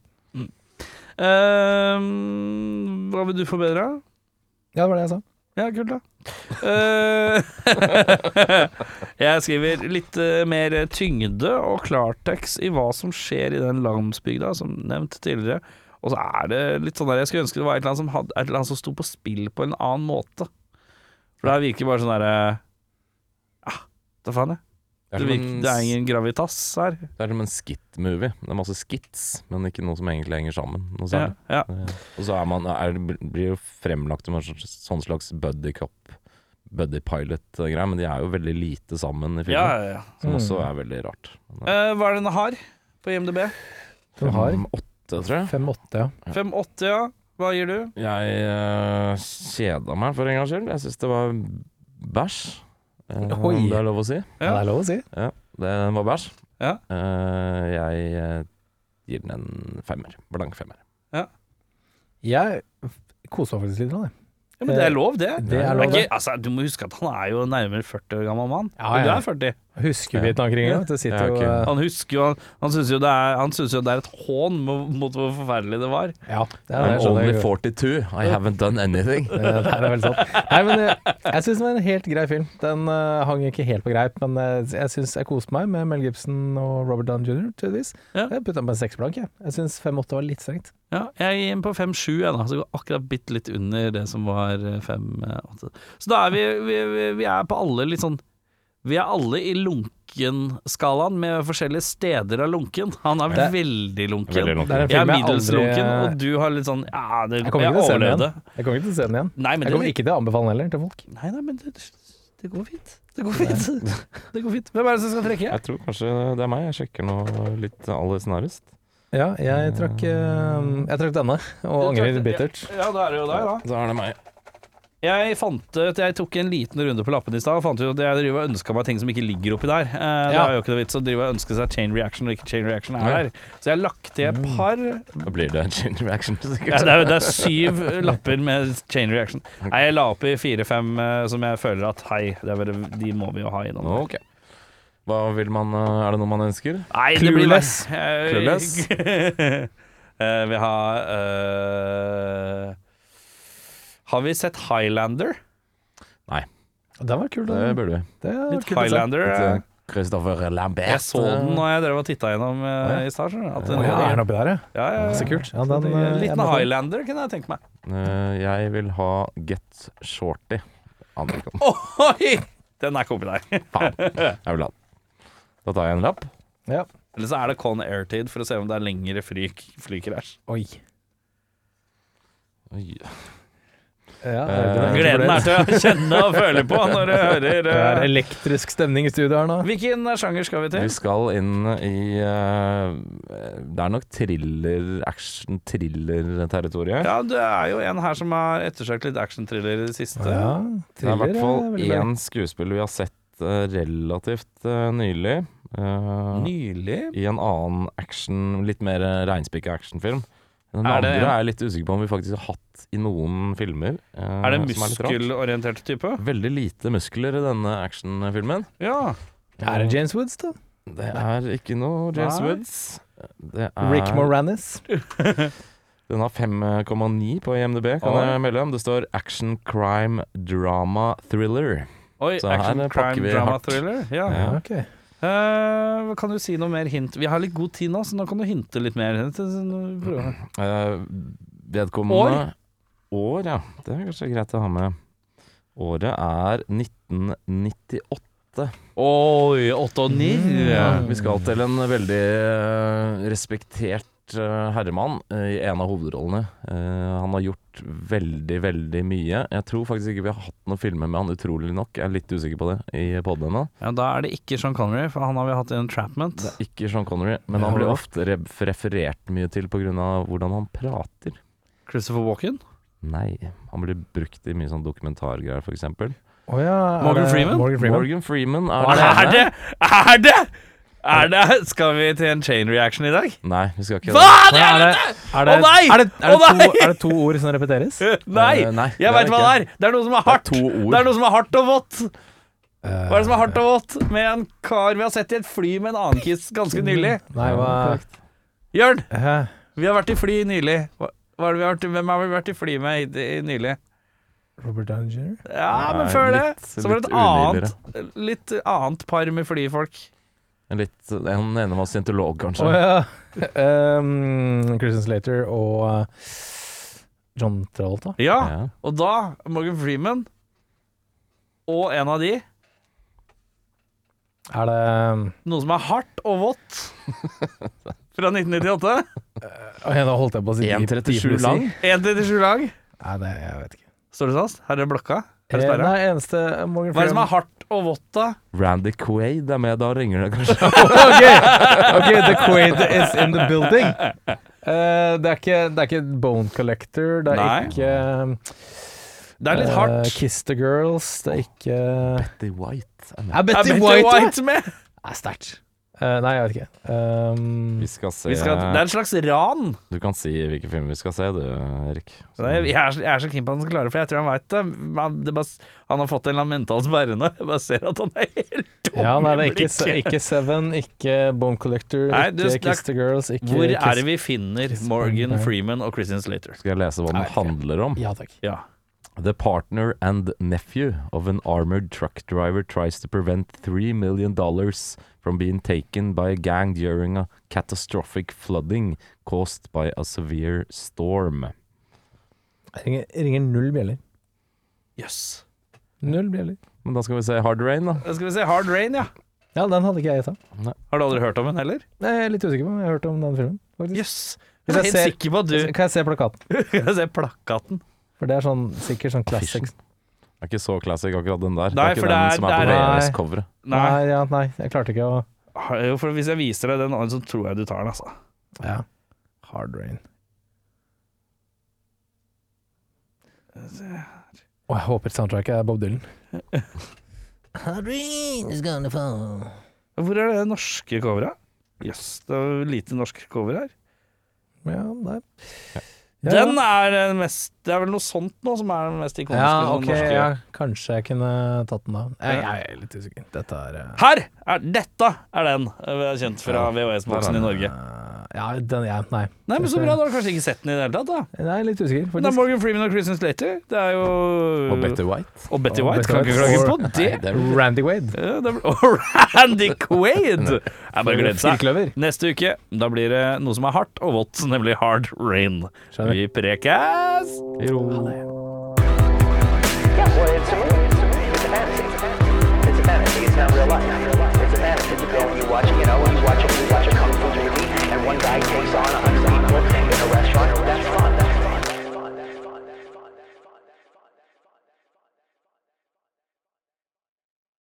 Speaker 5: Eh, hva vil du forbedre?
Speaker 2: Ja, det var det jeg sa.
Speaker 5: Ja, kult, da. Eh, jeg skriver litt eh, mer tyngde og klartekst i hva som skjer i den landsbygda, som nevnt tidligere. Og så er det litt sånn der Jeg skulle ønske det var et eller annet som, hadde, et eller annet som sto på spill på en annen måte. For det her virker bare sånn derre Ja, da faen, jeg.
Speaker 3: Det er
Speaker 5: Det,
Speaker 3: som
Speaker 5: virker,
Speaker 3: en-
Speaker 5: det er ingen gravitas her.
Speaker 3: det er som en skit-movie. Det er masse skits, men ikke noe som egentlig henger sammen. Noe
Speaker 5: Ja,
Speaker 3: særlig.
Speaker 5: ja.
Speaker 3: Eh, Og så er man, er, blir jo fremlagt som en slags- sånn slags buddy cop, buddy pilot-greie, men de er jo veldig lite sammen i filmen,
Speaker 5: ja, ja, ja.
Speaker 3: som også er veldig rart.
Speaker 5: Eh, hva er det den har på IMDb?
Speaker 2: Den har
Speaker 3: Fem, Åtte, tror jeg.
Speaker 2: 5-8, ja.
Speaker 5: 5,80, ja. Hva gir du?
Speaker 3: Jeg eh, kjeda meg for en gangs skyld. Jeg syns det var bæsj, eh,
Speaker 2: Oi.
Speaker 3: om det er lov å si.
Speaker 2: ja. Det er lov å si.
Speaker 3: Ja, det var bæsj.
Speaker 5: Ja.
Speaker 3: Eh, jeg eh, gir den en femmer. Blank femmer.
Speaker 2: Jeg koser meg faktisk litt. Med det.
Speaker 5: Ja, men det er lov, det.
Speaker 2: Det er lov,
Speaker 5: Det er
Speaker 2: det.
Speaker 5: ikke, altså, du må huske at han er jo nærmere 40 år gammel mann.
Speaker 2: Ja,
Speaker 5: Men Du
Speaker 2: ja.
Speaker 5: er 40.
Speaker 2: Husker Vietnamkrigen? Det
Speaker 3: Ja,
Speaker 2: sitter jo
Speaker 3: ok.
Speaker 2: eh,
Speaker 5: Han husker jo Han syns jo, det er- han synes jo det er et hån mo- mot hvor forferdelig det var.
Speaker 2: Ja, det er,
Speaker 3: I'm
Speaker 2: jeg skjønner
Speaker 3: only
Speaker 2: jo.
Speaker 3: 42. I haven't done anything.
Speaker 2: Det det er vel sant. Nei, men jeg, jeg syns det var en helt grei film. Den eh, hang ikke helt på greip, men eh, jeg syns jeg koste meg med Mel Gibson og Robert Down jr. tydeligvis.
Speaker 5: Ja.
Speaker 2: Jeg putta på en seksblank, jeg. Jeg syns 5-8 var litt strengt.
Speaker 5: Ja, jeg gir inn på 5-7, jeg da, så jeg går akkurat bitte litt under det som var eh, 5-8. Så da er vi, vi, vi- vi er på alle litt sånn Vi er alle i lunkenskalaen, med forskjellige steder av lunken. Han er
Speaker 2: Det-
Speaker 5: veldig lunken.
Speaker 3: Veldig lunken.
Speaker 2: Det er en
Speaker 5: Jeg er
Speaker 2: film jeg
Speaker 5: middels lunken,
Speaker 2: aldri eh,
Speaker 5: og du har litt sånn Ja, det,
Speaker 2: Jeg
Speaker 5: jeg,
Speaker 2: kommer ikke til å se den
Speaker 5: overlevde.
Speaker 2: igjen. Jeg kommer ikke til å se den igjen.
Speaker 5: Nei,
Speaker 2: Jeg
Speaker 5: men det-
Speaker 2: kommer ikke til å anbefale den heller til folk.
Speaker 5: Nei, nei, men det, det går fint. Det går fint. Det går fint. Hvem er det som skal trekke?
Speaker 3: Jeg tror kanskje det er meg. Jeg sjekker nå litt aller snarest.
Speaker 2: Ja, jeg trakk, eh, jeg trakk denne, og angrer bittert.
Speaker 5: Ja, da er det jo deg, da.
Speaker 3: Da er det meg.
Speaker 5: Jeg fant ut, jeg tok en liten runde på lappen i stad og fant ut at jeg driver og ønska meg ting som ikke ligger oppi der. Eh, Det
Speaker 2: Ja.
Speaker 5: er jo ikke noe vits å drive og ønske seg chain reaction når ikke chain reaction er
Speaker 3: Nei.
Speaker 5: der. Så jeg har lagt til et par
Speaker 3: Da blir det en change reaction, sikkert.
Speaker 5: ja, det, er, det er syv eh, lapper med chain reaction. Nei, jeg la opp i fire-fem eh, som jeg føler at hei, det er bare, de må vi jo ha innom.
Speaker 3: Ok. Hva vil man eh, Er det noe man ønsker?
Speaker 5: Nei, det blir
Speaker 2: Clueless.
Speaker 5: meg.
Speaker 3: Clueless.
Speaker 5: Eh, vi har eh, Har vi sett Highlander?
Speaker 2: Den var kul.
Speaker 3: Det
Speaker 2: Den.
Speaker 3: burde vi.
Speaker 2: Det var
Speaker 5: Litt
Speaker 2: kult å se.
Speaker 5: Highlander. eh,
Speaker 3: Etter Christopher Lambert. eh,
Speaker 5: Jeg så den når jeg drev og titta gjennom eh, i stad. skjønner du, at
Speaker 2: Å
Speaker 5: den-
Speaker 2: ja, er den oppi der, ja?
Speaker 5: Ja, ja, ja.
Speaker 2: Så kult. Ja,
Speaker 5: En
Speaker 2: den, eh, jeg må
Speaker 5: Liten
Speaker 2: ta den.
Speaker 5: Highlander kunne jeg tenke meg.
Speaker 3: Eh, jeg vil ha Get Shorty. Amerikan.
Speaker 5: Oi! Den er ikke oppi der.
Speaker 3: Faen. Jeg vil ha den. Da tar jeg en lapp.
Speaker 2: Ja.
Speaker 5: Eller så er det Con Air-tid for å se om det er lengre flyk, flykrasj.
Speaker 2: Oi.
Speaker 3: Oi.
Speaker 2: Ja,
Speaker 3: Eh,
Speaker 2: det er-
Speaker 5: Gleden er til å kjenne og føle på når du hører
Speaker 2: Det er
Speaker 5: eh,
Speaker 2: elektrisk stemning i studio her nå.
Speaker 5: Hvilken sjanger skal vi
Speaker 3: Vi
Speaker 5: til?
Speaker 3: skal inn i eh, Det er nok thriller, action-thriller-territoriet.
Speaker 5: Ja, det er jo en her som har ettersøkt litt action-thriller i det siste.
Speaker 2: Ja,
Speaker 3: Det er i
Speaker 2: thriller
Speaker 3: hvert
Speaker 2: er
Speaker 3: fall
Speaker 2: veldig bra.
Speaker 3: én skuespiller vi har sett eh, relativt eh, nylig, eh,
Speaker 5: Nylig?
Speaker 3: i en annen action, litt mer eh, reinspikka actionfilm. Den
Speaker 5: Er
Speaker 3: andre
Speaker 5: det-
Speaker 3: er jeg litt usikker på om vi faktisk har hatt i noen filmer. eh,
Speaker 5: Er det
Speaker 3: som litt rart.
Speaker 5: muskelorientert type?
Speaker 3: Veldig lite muskler i denne actionfilmen.
Speaker 5: Ja.
Speaker 2: Er det James Woods, da?
Speaker 3: Det er ikke noe James
Speaker 5: Nei.
Speaker 3: Woods. Det er,
Speaker 2: Rick Moranis?
Speaker 3: Den har 5,9 på IMDb, kan
Speaker 5: Oi.
Speaker 3: jeg melde om. Det står action, crime, drama, thriller.
Speaker 5: Oi,
Speaker 3: Så her
Speaker 5: action,
Speaker 3: pakker
Speaker 5: crime,
Speaker 3: vi
Speaker 5: drama,
Speaker 3: hardt.
Speaker 5: thriller. Ja.
Speaker 3: Ja.
Speaker 2: Ok.
Speaker 5: Eh, kan du si noe mer hint? Vi har litt god tid nå, så nå kan du hinte litt mer. Prøve.
Speaker 3: Eh, vedkommende År? ja. Det er kanskje greit å ha med. Året er 1998.
Speaker 5: Oi, åtte og ni. Mm.
Speaker 3: Ja, vi skal til en veldig eh, respektert eh, herremann eh, i en av hovedrollene. Eh, han har gjort veldig, veldig mye. Jeg tror faktisk ikke vi har hatt noen filmer med han, utrolig nok. Jeg er litt usikker på det i podden ennå.
Speaker 5: Ja, da er det ikke Sean Connery, for han har vi hatt i Entrapment.
Speaker 3: Ikke Sean Connery, men han blir ofte re referert mye til pga. hvordan han prater.
Speaker 5: Christopher Walken.
Speaker 3: Nei, han blir brukt i mye sånn dokumentargreier, f.eks.
Speaker 2: Å ja, er
Speaker 5: Morgan
Speaker 2: det
Speaker 5: Freeman?
Speaker 2: Morgan Freeman.
Speaker 3: Morgan Freeman er det
Speaker 5: Er
Speaker 3: ene.
Speaker 5: det? Er det? Er det? Skal vi til en chain reaction i dag?
Speaker 3: Nei, vi skal ikke
Speaker 5: Hva?
Speaker 2: Nei, er det, er det,
Speaker 5: Å nei!
Speaker 2: Er det, er
Speaker 5: Å
Speaker 2: det,
Speaker 5: nei!
Speaker 2: to, er det to ord som repeteres?
Speaker 5: Nei!
Speaker 3: Eh, nei, det
Speaker 5: Jeg
Speaker 3: er
Speaker 5: veit hva det
Speaker 3: ikke.
Speaker 5: er! Det er noe som er hardt.
Speaker 3: to ord.
Speaker 5: Det er noe som er hardt og vått. Hva er det som er hardt og vått med en kar vi har sett i et fly med en annen kiss ganske nylig?
Speaker 2: Nei, hva
Speaker 5: Jørn,
Speaker 2: Hæ?
Speaker 5: vi har vært i fly nylig. Hva hva er det vi har vært, hvem har vi vært i fly med i, i nylig?
Speaker 2: Robert Downey Jr.?
Speaker 5: Ja, men
Speaker 3: Nei,
Speaker 5: før det
Speaker 3: litt-
Speaker 5: så var
Speaker 3: litt
Speaker 5: det et annet, litt annet par med flyfolk.
Speaker 3: En Litt, en ene var scientolog, kanskje.
Speaker 2: Å ja. Um, Christian Slater og uh, John Travolta.
Speaker 5: Ja,
Speaker 3: Ja.
Speaker 5: og da Morgan Freeman og en av de
Speaker 2: Er det um,
Speaker 5: Noe som er hardt og vått fra 1998.
Speaker 2: Å ja, nå holdt jeg på å si
Speaker 3: 1,37
Speaker 2: 10
Speaker 3: E lang.
Speaker 5: 1-37 lag.
Speaker 2: Nei, det, jeg vet ikke.
Speaker 5: Står det fast? Her er det blokka. Er det
Speaker 2: Eh,
Speaker 5: sperra?
Speaker 2: Nei, eneste Morgan
Speaker 5: Hva er det som
Speaker 2: Freeman
Speaker 5: er hardt og vått, da?
Speaker 3: Randy Quaid er med, da ringer det kanskje.
Speaker 2: Ok, ok, The Quaid is in the building. Eh, det, er ikke, det er ikke Bone Collector, det er
Speaker 5: Nei.
Speaker 2: ikke um,
Speaker 5: Det er litt
Speaker 2: eh,
Speaker 5: hardt.
Speaker 2: Kiss the Girls, det er ikke
Speaker 3: Betty White er med.
Speaker 2: Er
Speaker 5: Er
Speaker 2: Betty
Speaker 5: Betty
Speaker 2: White, ja?
Speaker 5: White med?
Speaker 2: Det er sterkt. Eh, nei, jeg vet ikke. Um,
Speaker 3: Vi skal se
Speaker 5: Vi skal, det er en slags ran.
Speaker 3: Du kan si hvilken film vi skal se, du, Erik.
Speaker 5: Så Jeg jeg er, så- jeg er så keen på at han skal klare det, for jeg tror han veit det. Men det bare, s- han har fått en eller annen mental sperre nå. Jeg bare ser at han er helt tom
Speaker 2: ja, nei, det
Speaker 5: i
Speaker 2: er ikke, se-
Speaker 5: blikket.
Speaker 2: ikke Seven, ikke Bone Collector,
Speaker 5: Nei, du-
Speaker 2: ikke
Speaker 5: det er-
Speaker 2: Kiss the Girls, ikke
Speaker 5: Hvor
Speaker 2: Kiss
Speaker 5: er det vi finner Morgan
Speaker 2: Spenberg.
Speaker 5: Freeman og Christian Slater?
Speaker 3: Skal jeg lese hva den
Speaker 2: Nei, ok.
Speaker 3: handler om?
Speaker 2: Ja takk.
Speaker 5: Ja.
Speaker 3: The partner and nephew of an armored truck driver tries to prevent three million dollars from being taken by a gang during a catastrophic flooding caused by a severe storm.
Speaker 2: Jeg Ringer, jeg ringer null bjeller.
Speaker 5: Jøss.
Speaker 2: Null bjeller.
Speaker 3: Men da skal vi se Hard Rain, da.
Speaker 5: Da Skal vi se Hard Rain, ja.
Speaker 2: Ja, den hadde ikke jeg gjetta.
Speaker 5: Har du aldri hørt om den heller?
Speaker 2: Nei, Jeg er litt usikker på om jeg har hørt om den filmen. faktisk.
Speaker 5: Jøss.
Speaker 2: Hvis
Speaker 5: Jeg er
Speaker 2: jeg
Speaker 5: helt
Speaker 2: ser-
Speaker 5: sikker på at du
Speaker 2: Kan jeg se plakaten?
Speaker 5: Jeg ser plakaten.
Speaker 2: For det er sånn, sikkert sånn classic.
Speaker 3: Det er ikke så classic akkurat den der.
Speaker 5: Nei,
Speaker 3: det er
Speaker 5: for
Speaker 3: ikke den
Speaker 5: det er-
Speaker 3: som er
Speaker 5: det
Speaker 3: på
Speaker 5: er-
Speaker 3: VS-coveret.
Speaker 5: Nei.
Speaker 2: Nei, ja, nei, jeg klarte ikke å
Speaker 5: Jo, for hvis jeg viser deg den, så tror jeg du tar den, altså.
Speaker 2: Ja. Hard rain. Og jeg håper soundtracket er Bob Dylan. Hard rain is gonna fall.
Speaker 5: Hvor er det norske coveret? Jøss, det er jo lite norsk cover her.
Speaker 2: Ja, nei. Ja,
Speaker 5: Den er den mest Det er vel noe sånt nå som er den mest ikoniske
Speaker 2: Ja,
Speaker 5: sånn
Speaker 2: ok,
Speaker 5: norske.
Speaker 2: ja. kanskje jeg kunne tatt den da. Jeg, jeg er litt usikker. Dette er eh,
Speaker 5: Her! Er, dette er den eh, vi har kjent fra VHS-boksen i Norge.
Speaker 2: Ja, den ja, nei.
Speaker 5: Nei, men Så bra, da har du kanskje ikke sett den i det hele tatt. da
Speaker 2: Jeg er litt usikker,
Speaker 5: Men det er
Speaker 2: faktisk.
Speaker 5: Morgan Freeman og Christian Slater. Det er jo
Speaker 3: Og Betty White.
Speaker 5: Og Betty
Speaker 2: Og
Speaker 5: White.
Speaker 2: Betty
Speaker 5: Kan ikke
Speaker 2: White.
Speaker 5: klage på
Speaker 2: Og-
Speaker 5: det.
Speaker 3: det er vel-
Speaker 2: Randy Wade.
Speaker 5: Ja, det er- Og Randy Quaid! Jeg bare gleder seg.
Speaker 2: Firkløver.
Speaker 5: Neste uke da blir det noe som er hardt og vått, nemlig Hard Rain.
Speaker 2: Skjønner.
Speaker 5: Vi prekes!
Speaker 4: Yeah, well, it's a movie. It's a fantasy. It's a fantasy. It's not real life. It's a fantasy. You go and you watch, you know, you watch a, you watch a kung fu movie, and one guy takes on a hundred people in a restaurant.